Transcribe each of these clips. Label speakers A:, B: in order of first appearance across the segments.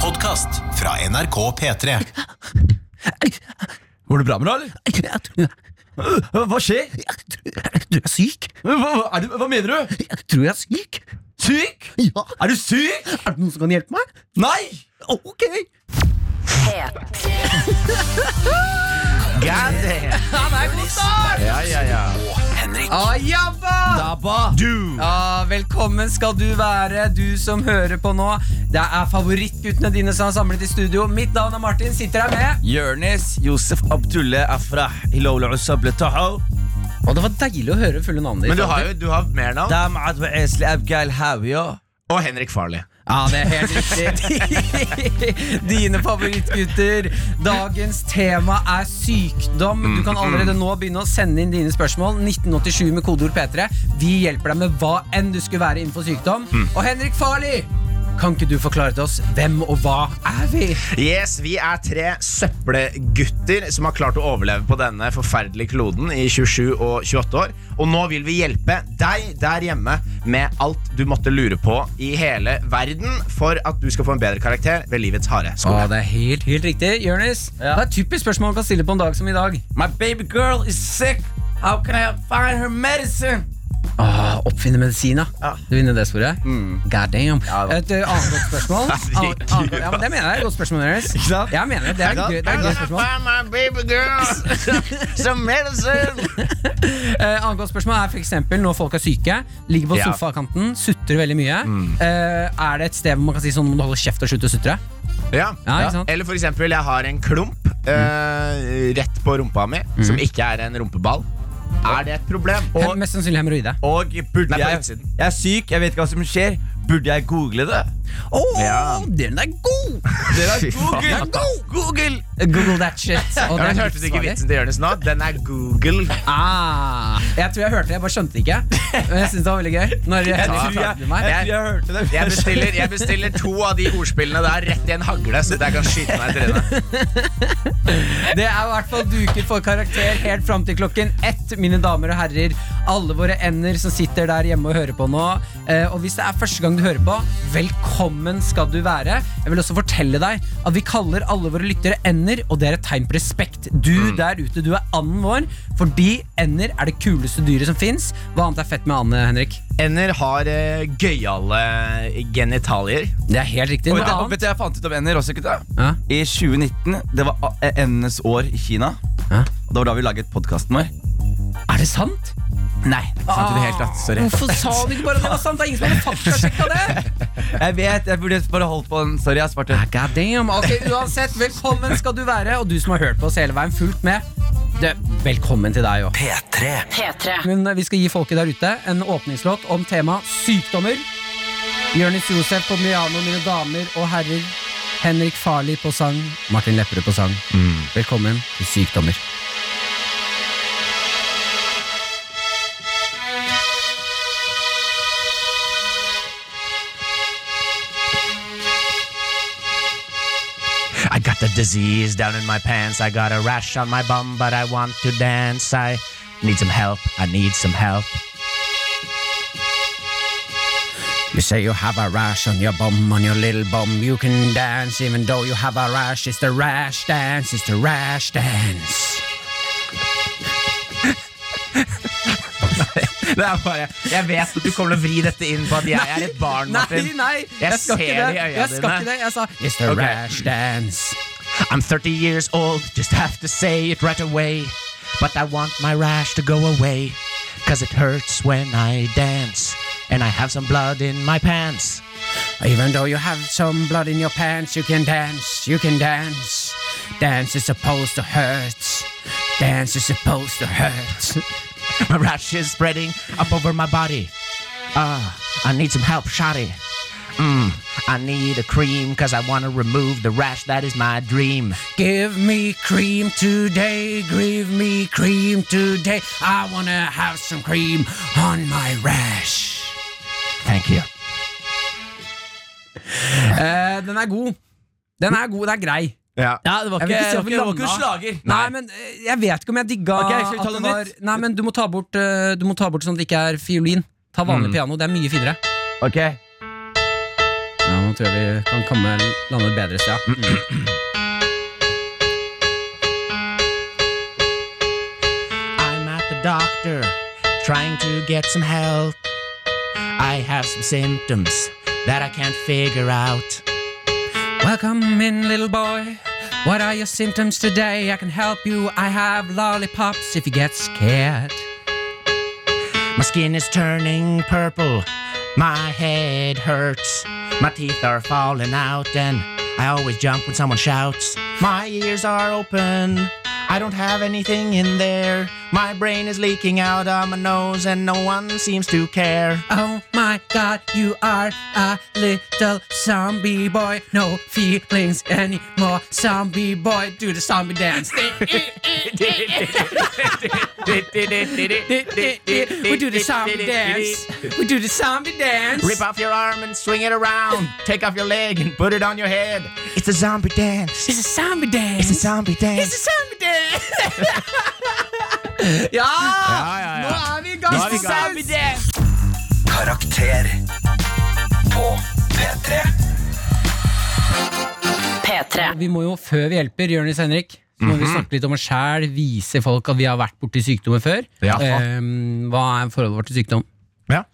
A: podkast fra NRK P3.
B: Går det bra med deg, eller?
C: Jeg tror,
B: Hva skjer?
C: jeg, tror, jeg tror jeg er syk.
B: Hva, er du, hva mener du?
C: Jeg tror jeg er syk.
B: Syk?
C: Ja.
B: Er du syk?
C: Er det noen som kan hjelpe meg?
B: Nei!
C: Ok.
D: Han er god start!
E: Ja, ja, ja.
D: Ah, jabba!
E: Du!
D: Ja, velkommen skal du være, du som hører på nå. Det er favorittguttene dine som er samlet i studio. Mitt navn er Martin. Sitter her med
E: Jørnis Josef Abdullah Afrah Hilal Usab Letaho
D: Og Det var deilig å høre fulle navnet ditt.
E: Men du har jo du har mer navn.
B: Damat wa esli abgal hawiya.
E: Og Henrik Farley.
D: Ja, det er helt riktig. Dine favorittgutter. Dagens tema er sykdom. Du
E: Mm,
D: kan allerede nå begynne å sende inn dine spørsmål. 1987 med kodeord P3. Vi hjelper deg med hva enn du skulle være innenfor sykdom.
E: Mm.
D: Og Henrik Farli, kan ikke du forklare til oss hvem og hva er vi?
E: Yes, Vi er tre søppelgutter som har klart å overleve på denne forferdelige kloden i 27 og 28 år. Og nå vil vi hjelpe deg der hjemme med alt du måtte lure på i hele verden for at du skal få en bedre karakter ved livets harde
D: Å,
E: skole.
D: det er helt, helt riktig. Jonis,
B: Ja.
D: det er et typisk spørsmål man kan stille på en dag som i dag.
B: My baby girl is sick. How can I find her medicine?
D: Ah, oppfinne medisin, ja. Du vinner det sporet. God damn.
B: da.
D: Et eh, annet godt spørsmål. Annet, annet, godt- ja, men det mener jeg er et godt spørsmål. Jonas.
B: Ikke sant?
D: Jeg mener det. Det er et gøy, det er et gøy spørsmål.
E: my baby girl some medicine
D: Eh, annet godt spørsmål er for eksempel når folk er syke, ligger på
E: Ja.
D: sofakanten, sutrer veldig mye. Eh, er det et sted hvor man kan si sånn må du holde kjeft og slutte å sutre?
E: Ja.
D: Ja, ikke sant? Mm.
E: Eller for eksempel, jeg har en klump eh, rett på rumpa mi, som ikke er en rumpeball. Er det et problem?
D: Hem- Mest sannsynlig hemoroide.
B: Og burde
E: Nei, på
B: jeg
E: innsiden.
B: Jeg er syk, jeg vet ikke hva som skjer. Burde jeg google det?
D: Oh,
E: Ja.
D: Den er god!
B: Dere
E: Fy
B: er
E: faen.
B: Google! Google!
D: Google that shit. Og det
E: Ja, men
D: er
E: hørte du ikke
D: livsfarlig.
E: vitsen til Jonis nå? Den er Google.
D: Ah, jeg tror jeg hørte det, jeg bare skjønte det ikke. Men jeg syns det var veldig gøy. Når
B: Jeg tror
D: Henrik
B: jeg,
D: fortalte
B: jeg,
D: det meg
B: tror jeg hørte det.
E: Jeg bestiller, jeg bestiller to av de ordspillene der rett i en hagle, så at jeg kan skyte meg i trynet.
D: Det er i hvert fall duket for karakter helt fram til klokken ett. Mine damer og herrer, alle våre ender som sitter der hjemme og hører på nå. Eh, og hvis det er første gang du hører på, velkommen skal du være. Jeg vil også fortelle deg at vi kaller alle våre lyttere ender, og det er et tegn på respekt. Du
B: Mm.
D: der ute, du er anden vår, fordi ender er det kuleste dyret som fins. Hva annet er fett med and, Henrik?
E: Ender har eh, gøyale eh, genitalier.
D: Det er helt riktig.
B: Og vet,
D: Noe
B: du- og
D: annet?
B: vet du, jeg fant ut om ender også, gutta.
D: Ja.
B: I 2019, det var a- endenes år i Kina.
D: Hæ?
B: Og det var da vi laget podkasten vår.
D: Er det sant?
B: Nei, det er sant i det hele tatt. Sorry.
D: Hvorfor sa du ikke bare at det var sant? Det er ingen som hadde faktasjekka det!
B: Jeg vet, jeg burde bare holdt på den. Sorry, jeg har svart det.
D: God damn, ok, Uansett, velkommen skal du være, og du som har hørt på oss hele veien, fulgt med. Det, velkommen til deg òg.
F: P3.
D: Men eh, vi skal gi folket der ute en åpningslåt om temaet sykdommer. Jonis Josef på piano, mine damer og herrer. Henrik Farli på sang. Martin Lepperød på sang. Velkommen til Sykdommer.
E: I got the disease down in my pants. I got a rash on my bum, but I want to dance. I need some help. I need some help.
D: You say you have a rash on your bum, on your little bum. You can dance even though you have a rash. It's the rash dance, it's the rash dance.
E: Det er bare, jeg vet at du kommer til å vri dette inn på at jeg er et barn, Martin.
D: Nei, nei, jeg,
E: Jeg
D: skal
E: ser
D: ikke
E: det i
D: det.
E: øya
D: Jeg skal
E: dine.
D: ikke det. Jeg sa It's the
E: Ok.
D: rash dance.
E: I'm 30 years old, just have to say it right away. But I want my rash to go away, cause it hurts when I dance. And I have some blood in my pants.
D: Even though you have some blood in your pants, you can dance, you can dance. Dance is supposed to hurt. Dance is supposed to hurt.
E: My rash is spreading up over my body. Ah, I need some help, shoddy. Mmm, I need a cream, cause I wanna remove the rash, that is my dream.
D: Give me cream today, give me cream today. I wanna have some cream on my rash.
E: Thank you.
D: den er god. Den er god, det er grei.
E: Ja.
D: det var
B: Jeg vil ikke si at vi landa.
D: Nei, men eh, jeg vet ikke om jeg digga
B: Ok, skal vi ta
D: at
B: noe
D: det var,
B: nytt?
D: Nei, men du må ta bort eh, Du må ta
B: Mm.
D: bort sånn at det ikke er fiolin. Ta vanlig piano. Det er mye finere.
B: Ok
D: nå tror jeg vi kan komme lande et bedre sted.
B: Mm.
F: I'm at the doctor trying to get some help. I have some symptoms that I can't figure out.
D: Welcome in, little boy. What are your symptoms today? I can help you. I have lollipops if you get scared.
F: My skin is turning purple. My head hurts. My teeth are falling out, and I always jump when someone shouts. My ears are open. I don't have anything in there. My brain is leaking out of my nose, and no one seems to care.
D: Oh my god, you are a little zombie boy. No feelings anymore, zombie boy. Do the zombie dance. we do the zombie dance. We do the zombie dance.
F: Rip off your arm and swing it around. Take off your leg and put it on your head. It's a zombie dance.
D: It's a zombie dance.
F: It's a zombie
D: It's a
F: dance.
D: zombie dance. ja,
E: ja, ja.
D: Nå er vi i gang.
E: er vi i gang.
D: Zombie dance.
A: Karakter på P3.
G: P3.
D: Vi må jo, før vi hjelper Jørnis Henrik så må vi
E: Mhm.
D: snakke litt om oss sjæl, vise folk at vi har vært borti sykdommer før.
E: Ja.
D: Ehm, hva er forholdet vårt til sykdom?
E: Ja.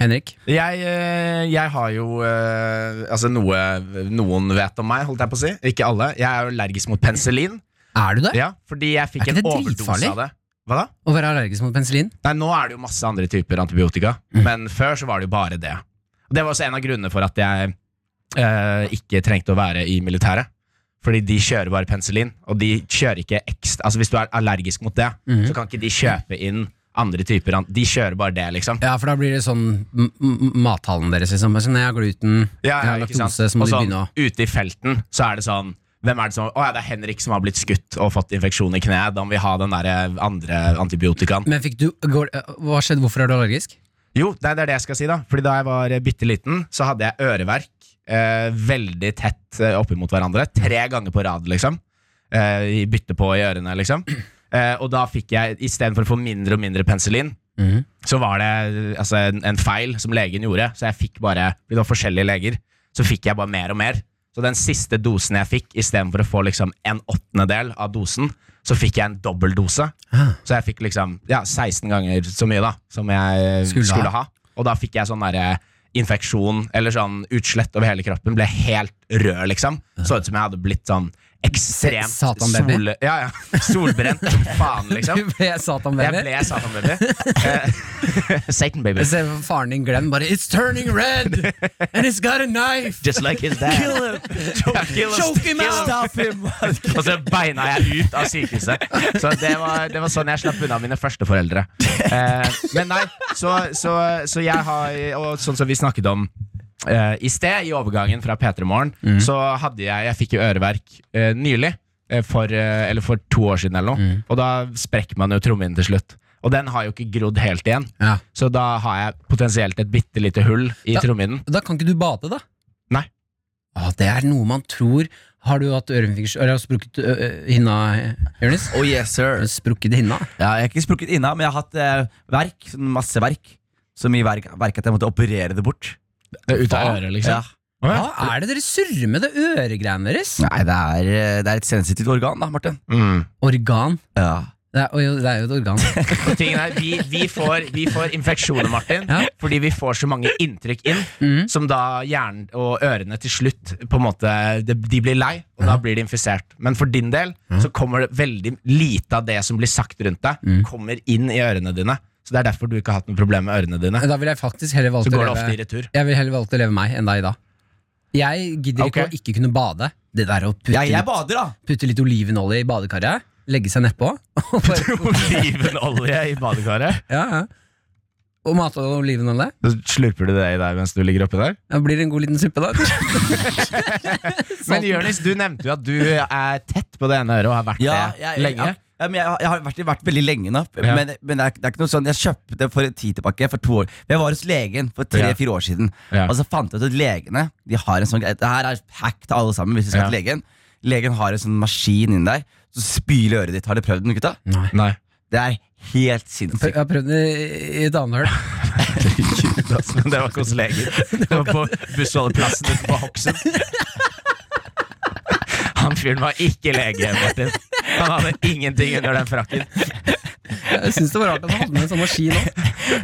D: Henrik?
E: Jeg, eh, jeg har jo eh, Altså noe noen vet om meg, holdt jeg på å si. Ikke alle. Jeg er jo allergisk mot penicillin.
D: Er du det?
E: Ja, fordi jeg fikk
D: Er
E: en
D: ikke det
E: overdose
D: dritfarlig?
E: av det. Hva da?
D: Å være allergisk mot penicillin?
E: Nei, Nå er det jo masse andre typer antibiotika,
D: Mm.
E: men før så var det jo bare det. Og Det var også en av grunnene for at jeg eh, ikke trengte å være i militæret. Fordi de kjører bare penicillin, og de kjører ikke ekstra Altså Hvis du er allergisk mot det,
D: Mm.
E: så kan ikke de kjøpe inn andre typer an- De kjører bare det, liksom.
D: Ja, for da blir det sånn m- m- mathallen deres, liksom. Men Sånn, jeg har gluten,
E: Ja,
D: jeg har
E: ja, ikke sant?
D: laktose, så må
E: Og
D: de
E: sånn,
D: begynne å
E: Ute i felten så er det sånn hvem er det som, Å ja, det er Henrik som har blitt skutt og fått infeksjon i kneet. Da må vi ha den der eh, andre antibiotikaen.
D: Men fikk du går, Hva skjedde? Hvorfor er du allergisk?
E: Jo, det er det jeg skal si, da. Fordi da jeg var eh, bitte liten, så hadde jeg øreverk eh, veldig tett eh, oppimot hverandre. Tre ganger på rad, liksom. Eh, i bytte på i ørene, liksom. Eh, og da fikk jeg, istedenfor å få mindre og mindre penicillin,
D: Mhm.
E: så var det altså, en, en feil som legen gjorde. Så jeg fikk bare fordi Det var forskjellige leger. Så fikk jeg bare mer og mer. Så den siste dosen jeg fikk, istedenfor å få liksom en åttendedel av dosen, så fikk jeg en dobbeldose.
D: Ah.
E: Så jeg fikk liksom ja, 16 ganger så mye da som jeg eh,
D: Skulle
E: skulle,
D: ha.
E: ha. Og da fikk jeg sånn derre infeksjon eller sånn utslett over hele kroppen. Ble helt rød, liksom.
D: Ah.
E: Så ut som jeg hadde blitt sånn ekstremt
D: Satanbaby.
E: sole- ja, ja, solbrent som faen, liksom.
D: Du ble
E: Jeg
D: satanbaby?
E: ble Eh, Satan-baby. Satan-baby.
D: Jeg ser faren din Glenn bare It's turning red! And it's got a knife!
E: Just like his dad. Kill him! Choke,
D: Choke him out!
E: Og så beina jeg ut av sykehuset. Så det var, det var sånn jeg slapp unna mine førsteforeldre. Eh, men nei, så, så, så jeg har Og sånn som vi snakket om eh, i sted, i overgangen fra P3 Morgen, så hadde jeg Jeg fikk jo øreverk eh, nylig. eh, For, eh, eller for to år siden, eller noe. Og da sprekker man jo trommehinnen til slutt. Og den har jo ikke grodd helt igjen.
D: Ja.
E: Så da har jeg potensielt et bitte lite hull i
D: Da-
E: trommehinnen.
D: Da kan ikke du bade, da?
E: Nei.
D: Å, det er noe man tror Har du hatt øreinfeksjon Eller har du sprukket ø, ø, hinna, Jonis?
B: Oh yes, sir.
D: Har du Sprukket hinna?
B: Ja, jeg har ikke sprukket inna, men jeg har hatt eh, verk. Sånn masse verk. Så mye verk, verk at jeg måtte operere det bort.
E: Ut av øret, liksom.
B: Ja.
D: Hva er det dere surrer med det øregreiene deres?
B: Nei, det er, eh, det er et sensitivt organ, da, Martin.
E: Mm.
D: Organ.
B: Ja.
D: Det er, oi, det er jo et organ.
E: Og tingen er, vi, vi, får, vi får infeksjoner, Martin,
D: Ja.
E: fordi vi får så mange inntrykk inn,
D: Mhm.
E: som da hjernen og ørene til slutt på en måte, de, de blir lei, og da blir de infisert. Men for din del så kommer det veldig lite av det som blir sagt rundt deg, kommer inn i ørene dine. Så det er derfor du ikke har hatt noe problem med ørene dine.
D: Da ville jeg faktisk heller valgt
E: Så
D: å
E: går det ofte i
D: leve
E: retur.
D: Jeg ville heller valgt å leve meg enn deg da. Jeg gidder ikke
E: Ok.
D: å ikke kunne bade. Det der å putte,
B: Jeg, jeg
D: litt,
B: bader, da.
D: putte litt olivenolje i badekarret, legge seg nedpå og bare
E: Olivenolje i badekaret.
D: Ja, ja. Og mat og olivenolje.
E: Så slurper du det i deg mens du ligger oppi der?
D: Det blir en god liten suppe, da.
E: Men Jørnis, du nevnte jo at du er tett på det ene øret og har vært det
B: jeg,
E: lenge.
B: Ja, ja, men jeg, har- jeg har vært, vært veldig lenge nå.
E: Ja.
B: Men, men det, er, det er ikke noe sånn Jeg kjøpte det for en tid tilbake. For to år Jeg var hos legen for
E: Ja.
B: tre-fire år siden.
E: Ja.
B: Og så fant jeg ut at legene De har en sånn greie- Det her er hack til alle sammen. Hvis du skal
E: Ja.
B: til legen Legen har en sånn maskin inni der. Så spyler øret ditt. Har du prøvd den, gutta?
E: Nei.
B: Det er helt
D: Jeg
B: sinnssykt.
D: har prøvd det i et annet høl.
E: Herregud, altså. Det var ikke hos legen. Det var på bussholdeplassen ute på Hokksund. Han fyren var ikke lege, Martin. Han hadde ingenting under den frakken.
D: Jeg syns det var rart at han hadde med en sånn maskin òg.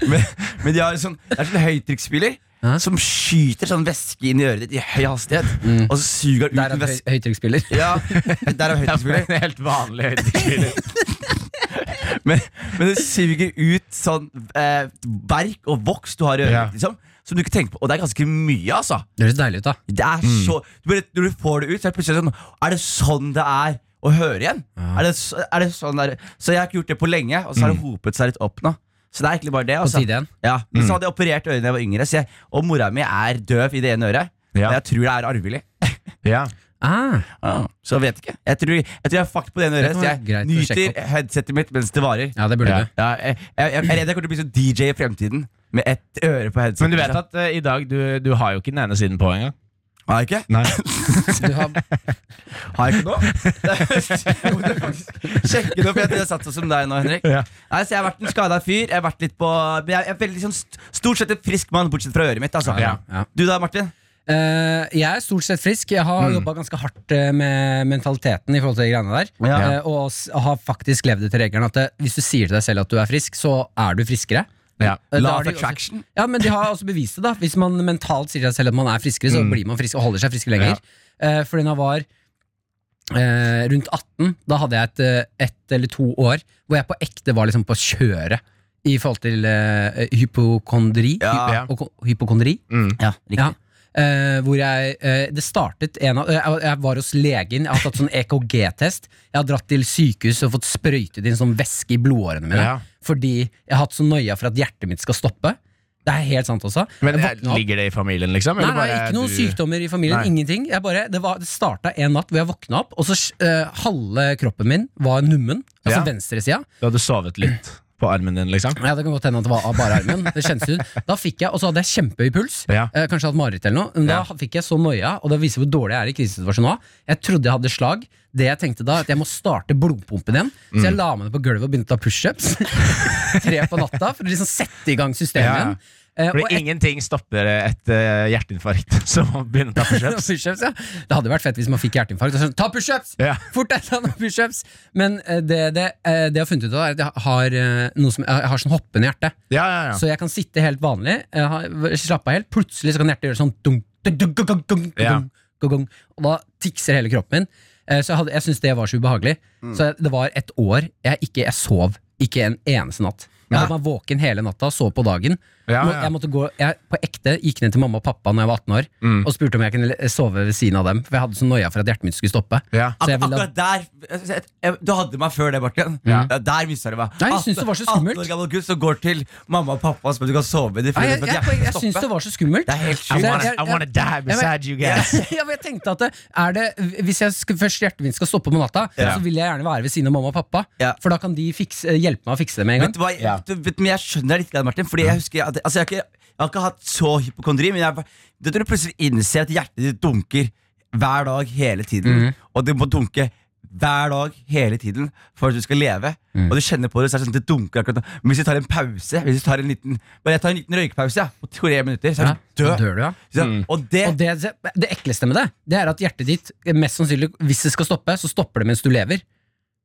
B: Men, men de har sånn, det er sånn høytrykksspiller
D: Hæ?
B: som skyter sånn væske inn i øret ditt i høy hastighet, og så suger han ut
D: Mm. Der er
B: en
D: det
B: væske.
D: høy- høytrykksspiller.
B: Ja, der er høytrykksspiller.
E: En helt vanlig høydespiller.
B: Men, men det suger ut sånn eh, berk og voks du har i øret.
E: Ja.
B: Liksom, som du ikke tenker på. Og det er ganske mye, altså.
D: Det høres deilig ut, da. Mm.
B: Det er så, du bare, når du får det ut, så er det plutselig sånn Er det sånn det er å høre igjen? Er, det, så- er det sånn der, Så jeg har ikke gjort det på lenge, og så har det hopet seg litt opp nå. Så det er egentlig bare det. Altså.
D: si det Mm. igjen. Mm.
B: Ja, Men så hadde jeg operert ørene da jeg var yngre, så jeg, og mora mi er døv i det ene øret.
E: Ja.
B: Men jeg tror det er arvelig.
E: Ja.
D: Ah,
B: Så jeg vet ikke. Jeg tror jeg, tror jeg har fucked på det ene
D: Det
B: øret,
D: kan
B: så
D: være
B: jeg
D: greit å sjekke
B: nyter headsetet mitt mens det varer.
D: ja, det burde
E: Ja.
D: du.
B: Ja, jeg, jeg, jeg er redd jeg kommer til å bli sånn DJ i fremtiden. Med ett øre på headset.
E: Men du vet at eh, i dag du, du har jo ikke den ene siden på engang.
B: Har jeg ikke?
E: Nei.
D: du har,
B: Har jeg ikke nå? Jeg måtte faktisk Sjekke det opp. Jeg tror jeg satt sånn som deg nå, Henrik.
E: Ja.
B: Nei, så Jeg har vært en skada fyr. Jeg har vært litt på men Jeg jeg er veldig sånn st stort sett en frisk mann, bortsett fra øret mitt. Altså.
E: Ja,
D: ja.
B: Du da, Martin?
D: Eh, jeg er stort sett frisk. Jeg har
B: Mm.
D: jobba ganske hardt eh, med mentaliteten. I forhold til de greiene der
B: Ja.
D: Eh, Og s- har faktisk levd etter regelen at eh, hvis du sier til deg selv at du er frisk, så er du friskere.
E: Ja.
D: Eh, da
B: Law
D: har
B: of
D: de også-
B: attraction.
D: Ja, men de har også bevist det, da. Hvis man mentalt sier til seg selv at man er friskere,
B: Mm.
D: så blir man frisk og holder seg frisk lenger. Eh, fordi da jeg var eh, rundt 18, da hadde jeg et, eh, ett eller to år hvor jeg på ekte var liksom på kjøret i forhold til eh, hypokondri.
B: Ja.
E: Ja. Mm.
D: Hy og, hypokondri?
B: Ja,
D: Ja. Eh, hvor jeg, eh, det startet en av, eh, Jeg var hos legen, jeg har tatt sånn EKG-test. Jeg har dratt til sykehus og fått sprøytet inn sånn væske i blodårene mine.
E: Ja.
D: Fordi jeg har hatt så nøya for at hjertet mitt skal stoppe. Det er helt sant også.
E: Men
D: Jeg
E: eh,
D: våkna opp-
E: ligger det i familien, liksom?
D: Nei,
E: eller
D: nei,
E: bare
D: ikke noen
E: du-
D: sykdommer i familien.
E: Nei.
D: Ingenting. Jeg bare, det var- det starta en natt hvor jeg våkna opp, og så eh, halve kroppen min var nummen. Altså
E: Ja.
D: venstresida.
E: Du hadde sovet litt på armen din, liksom?
D: Ja, det kan godt hende at det var av bare armen. Det kjennes ut. Da fikk jeg, Og så hadde jeg kjempehøy puls.
E: Ja.
D: Eh, kanskje hatt mareritt eller noe. Men da fikk jeg så noia, og det viser hvor dårlig jeg er i krisesituasjoner nå. Jeg trodde jeg hadde slag. Det jeg tenkte da, at jeg må starte blodpumpen igjen. Så
E: Mm.
D: jeg la meg ned på gulvet og begynte å ta pushups. Tre på natta, for å liksom sette i gang systemet
E: Ja, ja.
D: igjen. Eh, og
E: Fordi ingenting stopper et eh, hjerteinfarkt som å begynne å ta
D: Og
E: pushups.
D: pushups, ja. Det hadde vært fett hvis man fikk hjerteinfarkt. og Sånn, Ta pushups!
E: Ja.
D: Fort deg ta noen pushups! Men eh, det, det, eh, det jeg har funnet ut av, er at jeg har, eh, noe som, jeg har sånn hoppende hjerte.
E: Ja, ja, ja.
D: Så jeg kan sitte helt vanlig, jeg har- slappe av helt. Plutselig så kan hjertet gjøre sånn dunk, dunk, dunk, dunk, dunk, dunk,
E: Ja.
D: dunk, dunk, dunk. Og da tikser hele kroppen min. Eh, Så jeg, hadde- jeg syntes det var så ubehagelig.
E: Mm.
D: Så jeg- det var et år jeg ikke jeg sov ikke en eneste natt. Jeg
B: Nei.
D: holdt meg våken hele natta, sov på dagen.
E: Ja,
D: Må-
E: ja.
D: Jeg måtte gå, jeg på ekte gikk ned til mamma og pappa når jeg var 18 år
E: Mm.
D: og spurte om jeg kunne le- sove ved siden av dem. For jeg hadde så noia for at hjertet mitt skulle stoppe.
E: Ja.
D: Så jeg
B: Ak
D: ville ha-
B: akkurat der jeg- jeg- Du hadde meg før det, Martin. Ja, der mista du meg.
D: Nei, jeg synes det var så
B: 18
D: skummelt.
B: år gammel gutt som går til mamma og pappa og spør om du kan sove. i det
D: Nei,
B: frie,
D: jeg,
B: for at hjertet
D: jeg, jeg,
B: skal
D: jeg syns
B: stoppe.
D: det var så skummelt.
B: Det er helt
D: Så
E: I
B: sjukt.
D: jeg-
E: wanna,
D: jeg-
E: I wanna die beside you guys.
D: ja, men jeg tenkte at det, er det, Hvis jeg skal, først hjertet mitt skal stoppe på natta,
B: Ja.
D: så vil jeg gjerne være ved siden av mamma og pappa.
B: Ja.
D: For da kan de fikse, hjelpe meg å fikse det med en
B: Vet
D: gang.
B: du hva,
E: Ja.
B: du, vet, men jeg skjønner deg litt, grann, Martin. Fordi jeg husker at, altså, jeg, har ikke, jeg har ikke hatt så hypokondri, men jeg, har- det tror jeg plutselig innser at hjertet ditt dunker hver dag hele tiden. Og det må dunke hver dag hele tiden for at du skal leve. Og du kjenner på det, så er det sånn at det dunker akkurat nå. Men hvis du tar en pause, hvis du tar en liten, bare jeg tar en liten røykepause ja, på tre minutter, så er
D: Ja,
B: du
D: da
B: død.
D: dør du, ja.
B: Så- Og det
D: Og det, det ekleste med det, det er at hjertet ditt eh, mest sannsynlig, hvis det skal stoppe, så stopper det mens du lever.